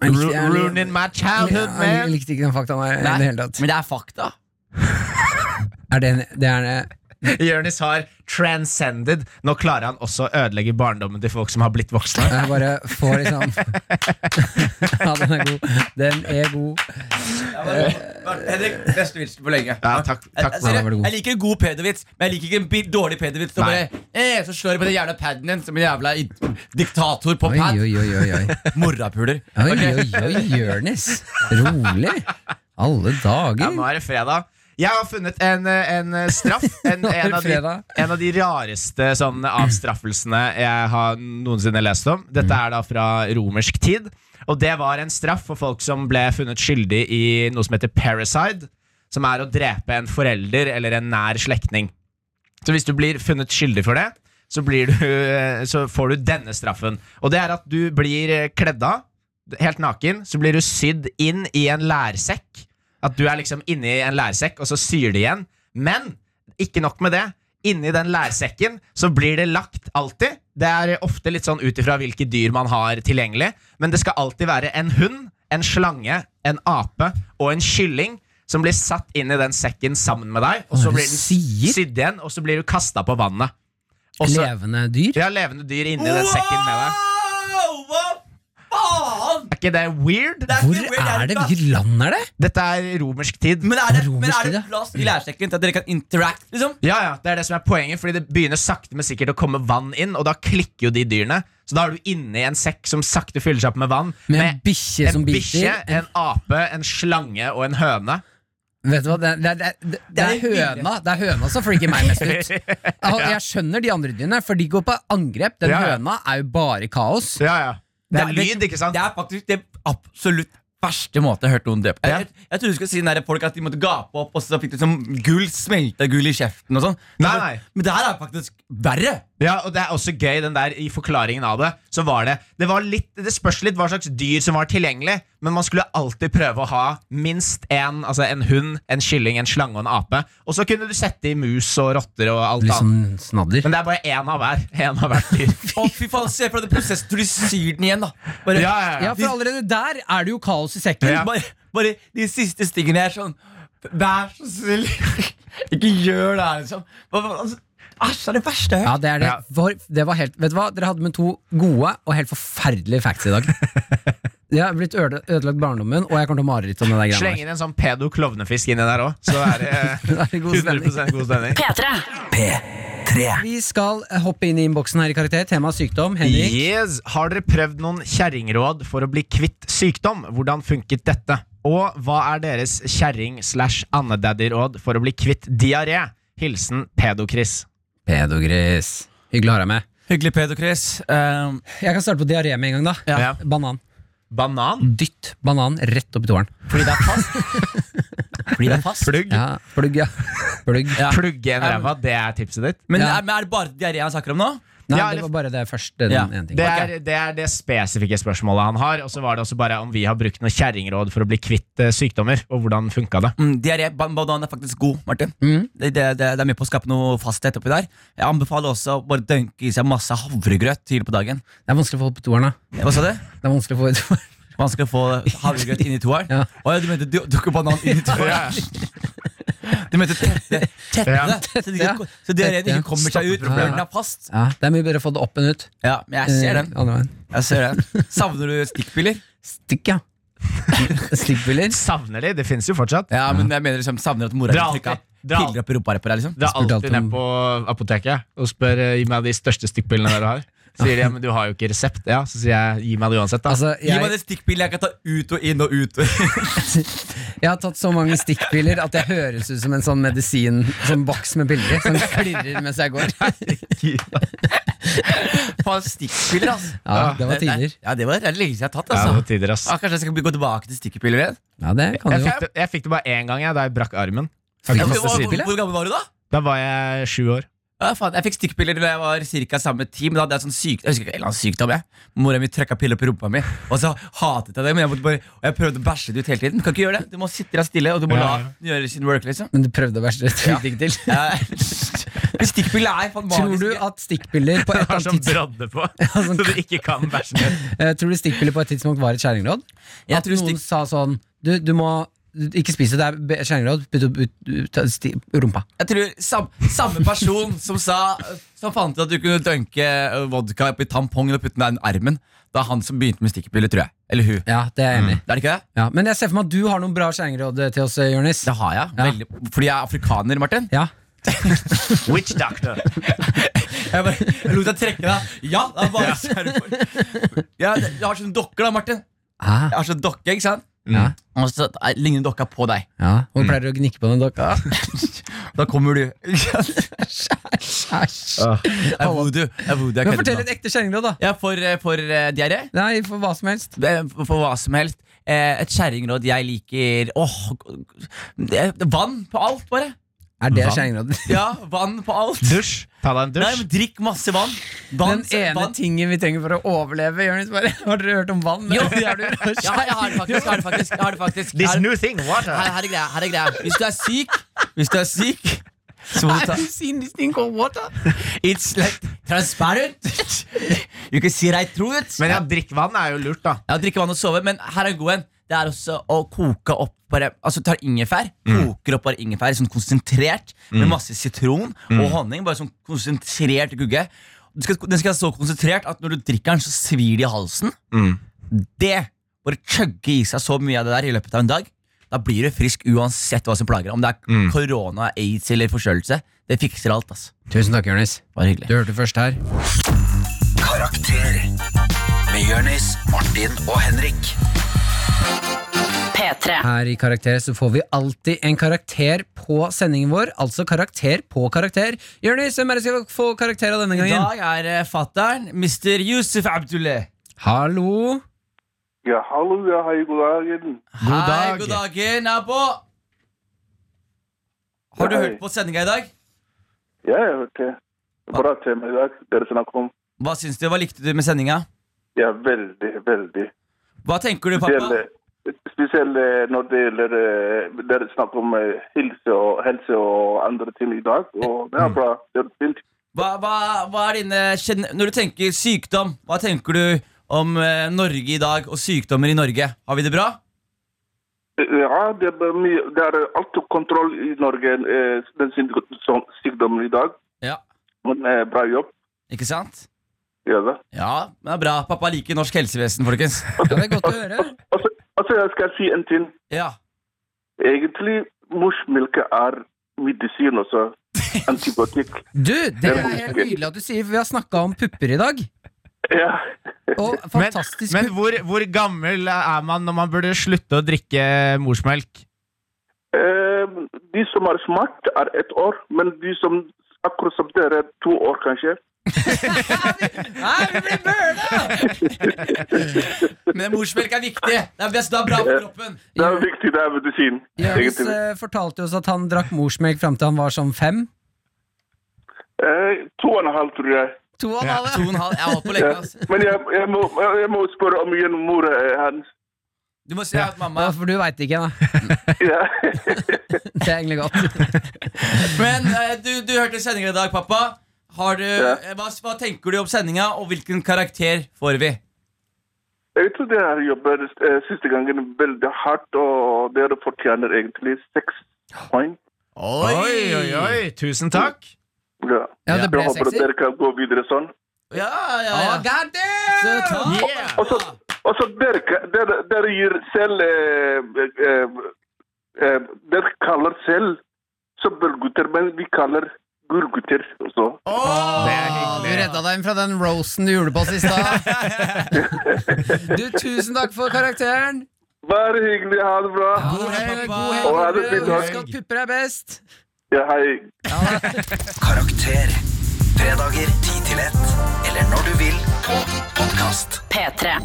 D: Jeg likte, jeg, jeg,
E: Ruining my childhood,
D: jeg,
E: man.
D: likte ikke den faktaen her. i
B: Nei,
D: det hele tatt.
B: Men det er fakta.
D: Er det, en, det er en,
E: Jonis har transcended. Nå klarer han også å ødelegge barndommen til folk som har blitt voksne.
D: Jeg bare får liksom Ja, den er god. Den er god.
B: Henrik, beste vitsen på lenge.
E: Ja, takk, takk
B: Altså,
D: Ja, da var
B: jeg,
D: det god.
B: jeg liker en god pedo-vits, men jeg liker ikke en bi- dårlig pedo-vits. som
E: Nei.
B: bare, Eh, så slår jeg på den jævla paden din som en jævla i- diktator på
D: Oi,
B: pad.
D: oi, oi, oi. Oi,
B: Morapuler.
D: oi,
B: Ok.
D: oi, oi Jørnis. Rolig. Alle
E: Ja,
D: dager.
E: nå er det fredag. Jeg har funnet en, eh, en eh, straff. En,
D: Nå er
E: en,
D: det
E: av de,
D: fredag.
E: en av de rareste sånne avstraffelsene jeg har noensinne lest om. Dette
D: Mm.
E: er da fra romersk tid. Og det var en straff for folk som ble funnet skyldig i noe som heter parricide. Som er å drepe en forelder eller en nær slektning. Så hvis du blir funnet skyldig for det, så, blir du, eh, så får du denne straffen. Og det er at du blir eh, kledd av, helt naken, så blir du sydd inn i en lærsekk. At du er liksom inni en lærsekk, og så syr det igjen. Men ikke nok med det. Inni den lærsekken så blir det lagt alltid. Det er ofte litt sånn ut ifra hvilke dyr man har tilgjengelig, men det skal alltid være en hund, en slange, en ape og en kylling som blir satt inn i den sekken sammen med deg, og
D: Hva
E: så
D: er det
E: blir
D: du
E: den
D: sier?
E: sydd igjen, og så blir du kasta på vannet. Og så
D: Levende dyr.
E: vi har levende dyr inni den sekken med deg.
B: Wow, hva faen?
E: Er ikke det weird?
D: Hvor er det? Hvilket land er det?
E: Dette er romersk tid.
B: Men er det, men
D: Romersk,
B: er det
D: ja.
B: plass i lærsekken til at dere kan interact? liksom?
E: Ja, ja, det er det som er poenget, fordi det begynner sakte men sikkert å komme vann inn, og da klikker jo de dyrene. Så da er du inne i en sekk som sakte fyller seg opp med vann.
D: Med en bikkje
E: en
D: som
E: bikkje,
D: biter.
E: en ape, en slange og en høne.
D: Vet du hva, Det, det, det, det, det er høna Det er høna som freaker meg mest ut. Jeg, jeg skjønner de andre dyrene, for de går på angrep. Den
E: Ja, ja.
D: høna er jo bare kaos.
E: Ja, ja. Det er lyd, ikke sant?
B: Det er faktisk det absolutt verste måte jeg har hørt noen døpe. Jeg, jeg, jeg trodde du skulle si den der folk at de måtte gape opp, og så fikk de sånn gull, smelta gull i kjeften og sånn.
E: Nei, nei.
B: Men det her er faktisk verre.
E: Ja, og det er også gøy, den der i forklaringen av det. Så var det Det, var litt, det spørs litt hva slags dyr som var tilgjengelig, men man skulle alltid prøve å ha minst én, altså en hund, en kylling, en slange og en ape. Og så kunne du sette i mus og rotter og alt
D: Litt
E: annet.
D: sånn snadder.
E: Men det er bare én av hver. En av hvert dyr.
B: Å, fy faen, se på den prosessen hvor de syr den igjen, da. Bare,
E: ja,
D: Ja, for allerede der er det jo kaos i sekken.
E: Ja.
B: bare, bare de siste stingene er sånn Vær så snill, ikke gjør det her, liksom. Hva- hva- altså, Æsj, det er det verste jeg
D: Ja,
B: har hørt.
D: det er det.
E: Ja.
D: For, det var helt, vet du hva? Dere hadde med to gode og helt forferdelige facts i dag. Jeg har blitt øde, ødelagt barndommen, og jeg kommer til å mareritt om det der
E: Sleng
D: greia.
E: inn en sånn pedo-klovnefisk inni der òg, så er det eh,
D: der. Det er god stemning.
E: 100 god stemning.
H: P3.
D: Vi skal hoppe inn i innboksen her i Karakter. Tema sykdom. Henrik.
E: Yes. Har dere prøvd noen kjerringråd for å bli kvitt sykdom? Hvordan funket dette? Og hva er deres kjerring slash andedaddy-råd for å bli kvitt diaré? Hilsen Pedo-Chris.
D: Pedogris. Hyggelig å ha deg med.
B: Hyggelig, Pedo Chris. Um,
D: Jeg kan starte på diaré med en gang, da.
E: Ja.
D: Banan.
E: Banan?
D: Dytt banan rett opp i tåren.
B: fordi det er fast. fordi det er fast.
E: Plugg?
D: Ja, plugg, ja. Plugg.
B: Ja.
E: Plugge en ræva, det er tipset ditt?
B: Men,
D: Ja.
B: er, men er det bare diaré han snakker om nå?
D: Nei,
E: Ja,
D: det
E: eller-
D: var bare det første. Den
B: Ja,
D: ene tingen.
E: Det er, det er det spesifikke spørsmålet han har. Og så var det også bare om vi har brukt noen kjerringråd for å bli kvitt eh, sykdommer, og hvordan funka det?
B: Mm, diaré ba- banan er faktisk god, Martin. Det, det, det, det er med på å skape noe fasthet oppi der. Jeg anbefaler også å bare dønke i seg masse havregrøt tidlig på dagen.
D: det er vanskelig å få opp i toeren, da.
B: Hva sa du?
D: Det er vanskelig å få opp i toeren.
B: Vanskelig å få havregrøt inn i toeren?
D: Ja.
B: Å ja, du mente du dukker banan inn i toeren? Du mente tette, tette
E: Ja.
B: det, så, de,
D: Ja.
B: så diareen
D: Tette, ja.
B: ikke kommer seg ut.
D: Stoppe problemet.
B: Den er fast.
D: Ja, det er mye bedre å få det opp enn ut.
B: Ja, men jeg ser
D: Eh,
B: den.
D: Andre veien.
B: Jeg ser den. Savner du stikkpiller?
D: Stikk, ja. Stikkpiller?
E: Savner de? Det fins jo fortsatt.
B: Ja, men jeg mener liksom Savner at mora
E: Dra
B: di trykka
E: alltid- dra
B: piller opp i rumpa di på deg, liksom.
E: Dra
D: spurte
E: alltid
D: alltid om-
E: ned på apoteket og spør eh, Gi meg de største stykkpillene dere har. Så Sier de ja, men du har jo ikke resept. Ja, Så sier jeg gi meg det uansett. da
D: Altså,
B: Gi meg
D: jeg,
B: det stikkpillet jeg kan ta ut og inn og ut.
D: jeg har tatt så mange stikkpiller at jeg høres ut som en sånn medisin Sånn boks med piller i, som klirrer mens jeg går.
B: Faen, stikkpiller, altså.
D: Ja, det var tider.
B: Ja, det var det lenge siden jeg har tatt,
E: ja, det var
B: altså.
E: tider, ass.
B: Ah, kanskje jeg skal gå tilbake til stikkpiller igjen?
D: Ja, det kan
E: Jeg
D: du jo.
E: fikk, det, jeg fikk det bare én gang jeg, da jeg brakk armen.
B: Ja,
E: Faktisk,
B: men Hvor
E: siden.
B: hvor- hvor gammel var du da?
E: Da var jeg sju år.
B: Ja, faen, jeg fikk stikkpiller da jeg var cirka samme tid. Men da hadde jeg sånn syk, jeg husker ikke, en eller annen sykdom. jeg Mora mi trøkka piller opp i rumpa mi, og så hatet jeg det. Men jeg, måtte bare, og jeg prøvde å bæsje det ut hele tiden. Du kan ikke gjøre det. Du må sitte der stille, og du må
E: Ja,
B: la den gjøre sin work. liksom
D: Men du prøvde å være så tydelig til.
B: Eh, Men stikkpiller er faen
D: Tror du
B: magiske.
D: at stikkpiller på et
E: Jeg
D: eller
E: har sånn
D: annet tidspunkt
E: brodde på,
B: sånn-
E: så du ikke kan bæsje ned.
D: Eh, Tror du stikkpiller på et tidspunkt var et kjerringråd?
B: Jeg
D: At
B: tror
D: noen
B: stikk-
D: sa sånn Du, du må du- ikke spise det, det er be- kjerringråd. Putt opp ut, ut, ta- sti- rumpa.
B: Jeg tror sam, Samme person som sa Som fant ut at du kunne dunke eh, vodka oppi tampongen og putte den i armen. Det er han som begynte med stikkpiller, tror jeg. Eller hun.
D: Ja, det er jeg enig i.
B: Er det ikke det?
D: Mm. Ja, men jeg ser for meg at du har noen bra kjerringråd til oss, eh, Jonis.
B: Det har jeg.
D: Ja.
B: Veldig, fordi jeg er afrikaner, Martin.
D: Ja.
E: Witch doctor.
B: Jeg, bare, jeg lot deg trekke deg. Ja, det er bare skjermer. Ja, det- jeg har sånne dokker, da, Martin.
D: Ah,
B: Jeg har sånn dokke, ikke sant?
D: Ja.
B: Og så eh, ligner dokka på deg.
D: ja. Hvor pleier du å gnikke på Ah, den dokka?
B: Da kommer du. Jeg
D: Æsj.
B: er voodoo. Jeg er voodoo. Jeg
D: Men
B: kødder
D: fortell
B: med.
D: et ekte kjerringråd, da.
B: Ja, for, eh, for eh, diaré.
D: Nei, for hva som helst.
B: Det er For for hva som helst. Eh, Et kjerringråd jeg liker Åh, det er- det er vann på alt, bare.
D: Er det
E: Vann?
D: kjerringrådet?
B: Ja, vann på alt.
E: Dusj. Ta deg en
B: Nei,
E: dusj.
B: men Drikk masse vann.
D: Den
B: vann
D: ene
B: vann.
D: tingen vi trenger for å overleve, Jonis. bare. Har dere hørt om vann?
B: Jo.
D: Det er du.
B: Ja, jeg har det faktisk. Jeg har det faktisk, jeg har det faktisk.
E: This
B: Her-
E: new thing, water.
B: her, her er greia, her er greia. Hvis du er syk, hvis du er syk så må du ta It's like transparent. You can see right through it.
E: Men ja, drikkvann er jo lurt, da.
B: Ja, drikke vann og sove, men her er en god en. Det er også å koke opp bare, Altså tar ingefær, koker opp bare ingefær sånn konsentrert med masse sitron og honning. Bare sånn konsentrert gugge. Den skal, den skal være så konsentrert at når du drikker den, så svir det i halsen. Det Bare chugge i seg så mye av det der i løpet av en dag. Da blir du frisk uansett hva som plager deg. Om det er korona, aids eller forkjølelse. Det fikser alt. ass
D: Tusen takk, Jonis.
B: Bare hyggelig.
D: Du hørte først her.
A: Karakter med Jonis, Martin og Henrik.
H: P3.
D: Her i Karakter så får vi alltid en karakter på sendingen vår. Altså karakter på karakter. Jonis, hvem er det som skal få karakter av denne
B: I
D: gangen?
B: dag er eh, fattern Mr. Yusuf Abdullah.
D: Hallo?
J: Ja, hallo, ja, hei, god dagen.
E: God
B: Hei,
E: dag.
B: god dagen, nabo! Har du
J: Hei.
B: hørt på sendinga i dag?
J: Ja, jeg hørte det. Bra tema i dag, dere snakker om.
B: Hva syns du, hva likte du med sendinga?
J: Ja, veldig, veldig.
B: Hva tenker du, pappa?
J: Spesielt, eh, spesielt eh, når det gjelder eh, dere snakker om eh, helse og, helse og andre ting i dag. Og
B: Mm.
J: det er bra, det er fint.
B: Hva, hva, hva er dine, kjenn- når du tenker sykdom, hva tenker du om eh, Norge i dag og sykdommer i Norge? Har vi det bra?
J: Eh, Ja, det er, mye, det er alltid kontroll i Norge, eh, den syk- som- sykdommen i dag.
B: Ja.
J: Men eh, bra jobb,
B: Ikke sant?
J: ja da.
B: Ja, men det er bra. Pappa liker norsk helsevesen, folkens.
D: Ja, det er godt å høre.
J: Og så- og så jeg skal si en ting.
B: Ja,
J: Egentlig, morsmelke er medisin altså. også. Antibiotikk.
D: Du, det er helt nydelig at du sier, for vi har snakka om pupper i dag.
J: Ja.
D: Og
E: Men,
D: fantastisk
E: men
D: pupp.
E: hvor, hvor gammel er man når man burde slutte å drikke morsmelk?
J: Eh, de som er smart, er ett år, men de som akkurat som dere, to år kanskje.
B: Nei, vi blir burna! Men morsmelk er viktig. Det er best det er bra for kroppen.
J: Det er viktig, det er medisin.
D: Jonis
J: egentlig.
D: eh, fortalte oss at han drakk morsmelk fram til han var sånn fem.
J: Eh, to og en halv, tror jeg.
D: To og en halv.
B: To og en halv. Jeg har holdt på lenge. ass.
J: Men jeg, jeg, må, jeg må spørre om igjen mor eh, hans.
B: Du må si at mamma
D: Ja, for du veit ikke, da.
J: Ja.
D: Det er egentlig godt.
B: Men eh, du, du hørte sendinga i dag, pappa. Har du, eh, hva, hva tenker du om sendinga, og hvilken karakter får vi?
J: jeg tror det her jobber eh, siste gangen veldig hardt, og dere fortjener egentlig seks poeng.
E: Oi, oi, oi. Tusen takk.
J: Ja.
D: Ja, det ble
J: jeg håper
D: sekser.
B: Ah,
J: dere kan gå videre sånn.
B: Ja, ja,
D: Å,
B: ja.
D: god damn!
B: Så ta-
E: Yeah.
J: Og så, Altså, dere, ka- dere, dere gir selv eh, eh, eh, Dere kaller selv søppelgutter, men vi kaller gulgutter også.
D: Åh, du redda deg inn fra den rosen du gjorde på oss i stad. Du, tusen takk for karakteren.
J: Bare hyggelig. Ha det bra.
D: God helg. God
J: Og ha det
D: helg.
J: fint, takk.
D: Husk at pupper er best.
J: Ja, hei.
A: Karakter. Fredager 10 til 1. Eller når du vil på podkast.
H: P3.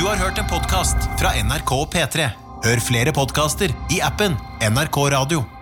K: Du har hørt en podcast fra NRK P3. Hør flere podcaster i appen NRK Radio.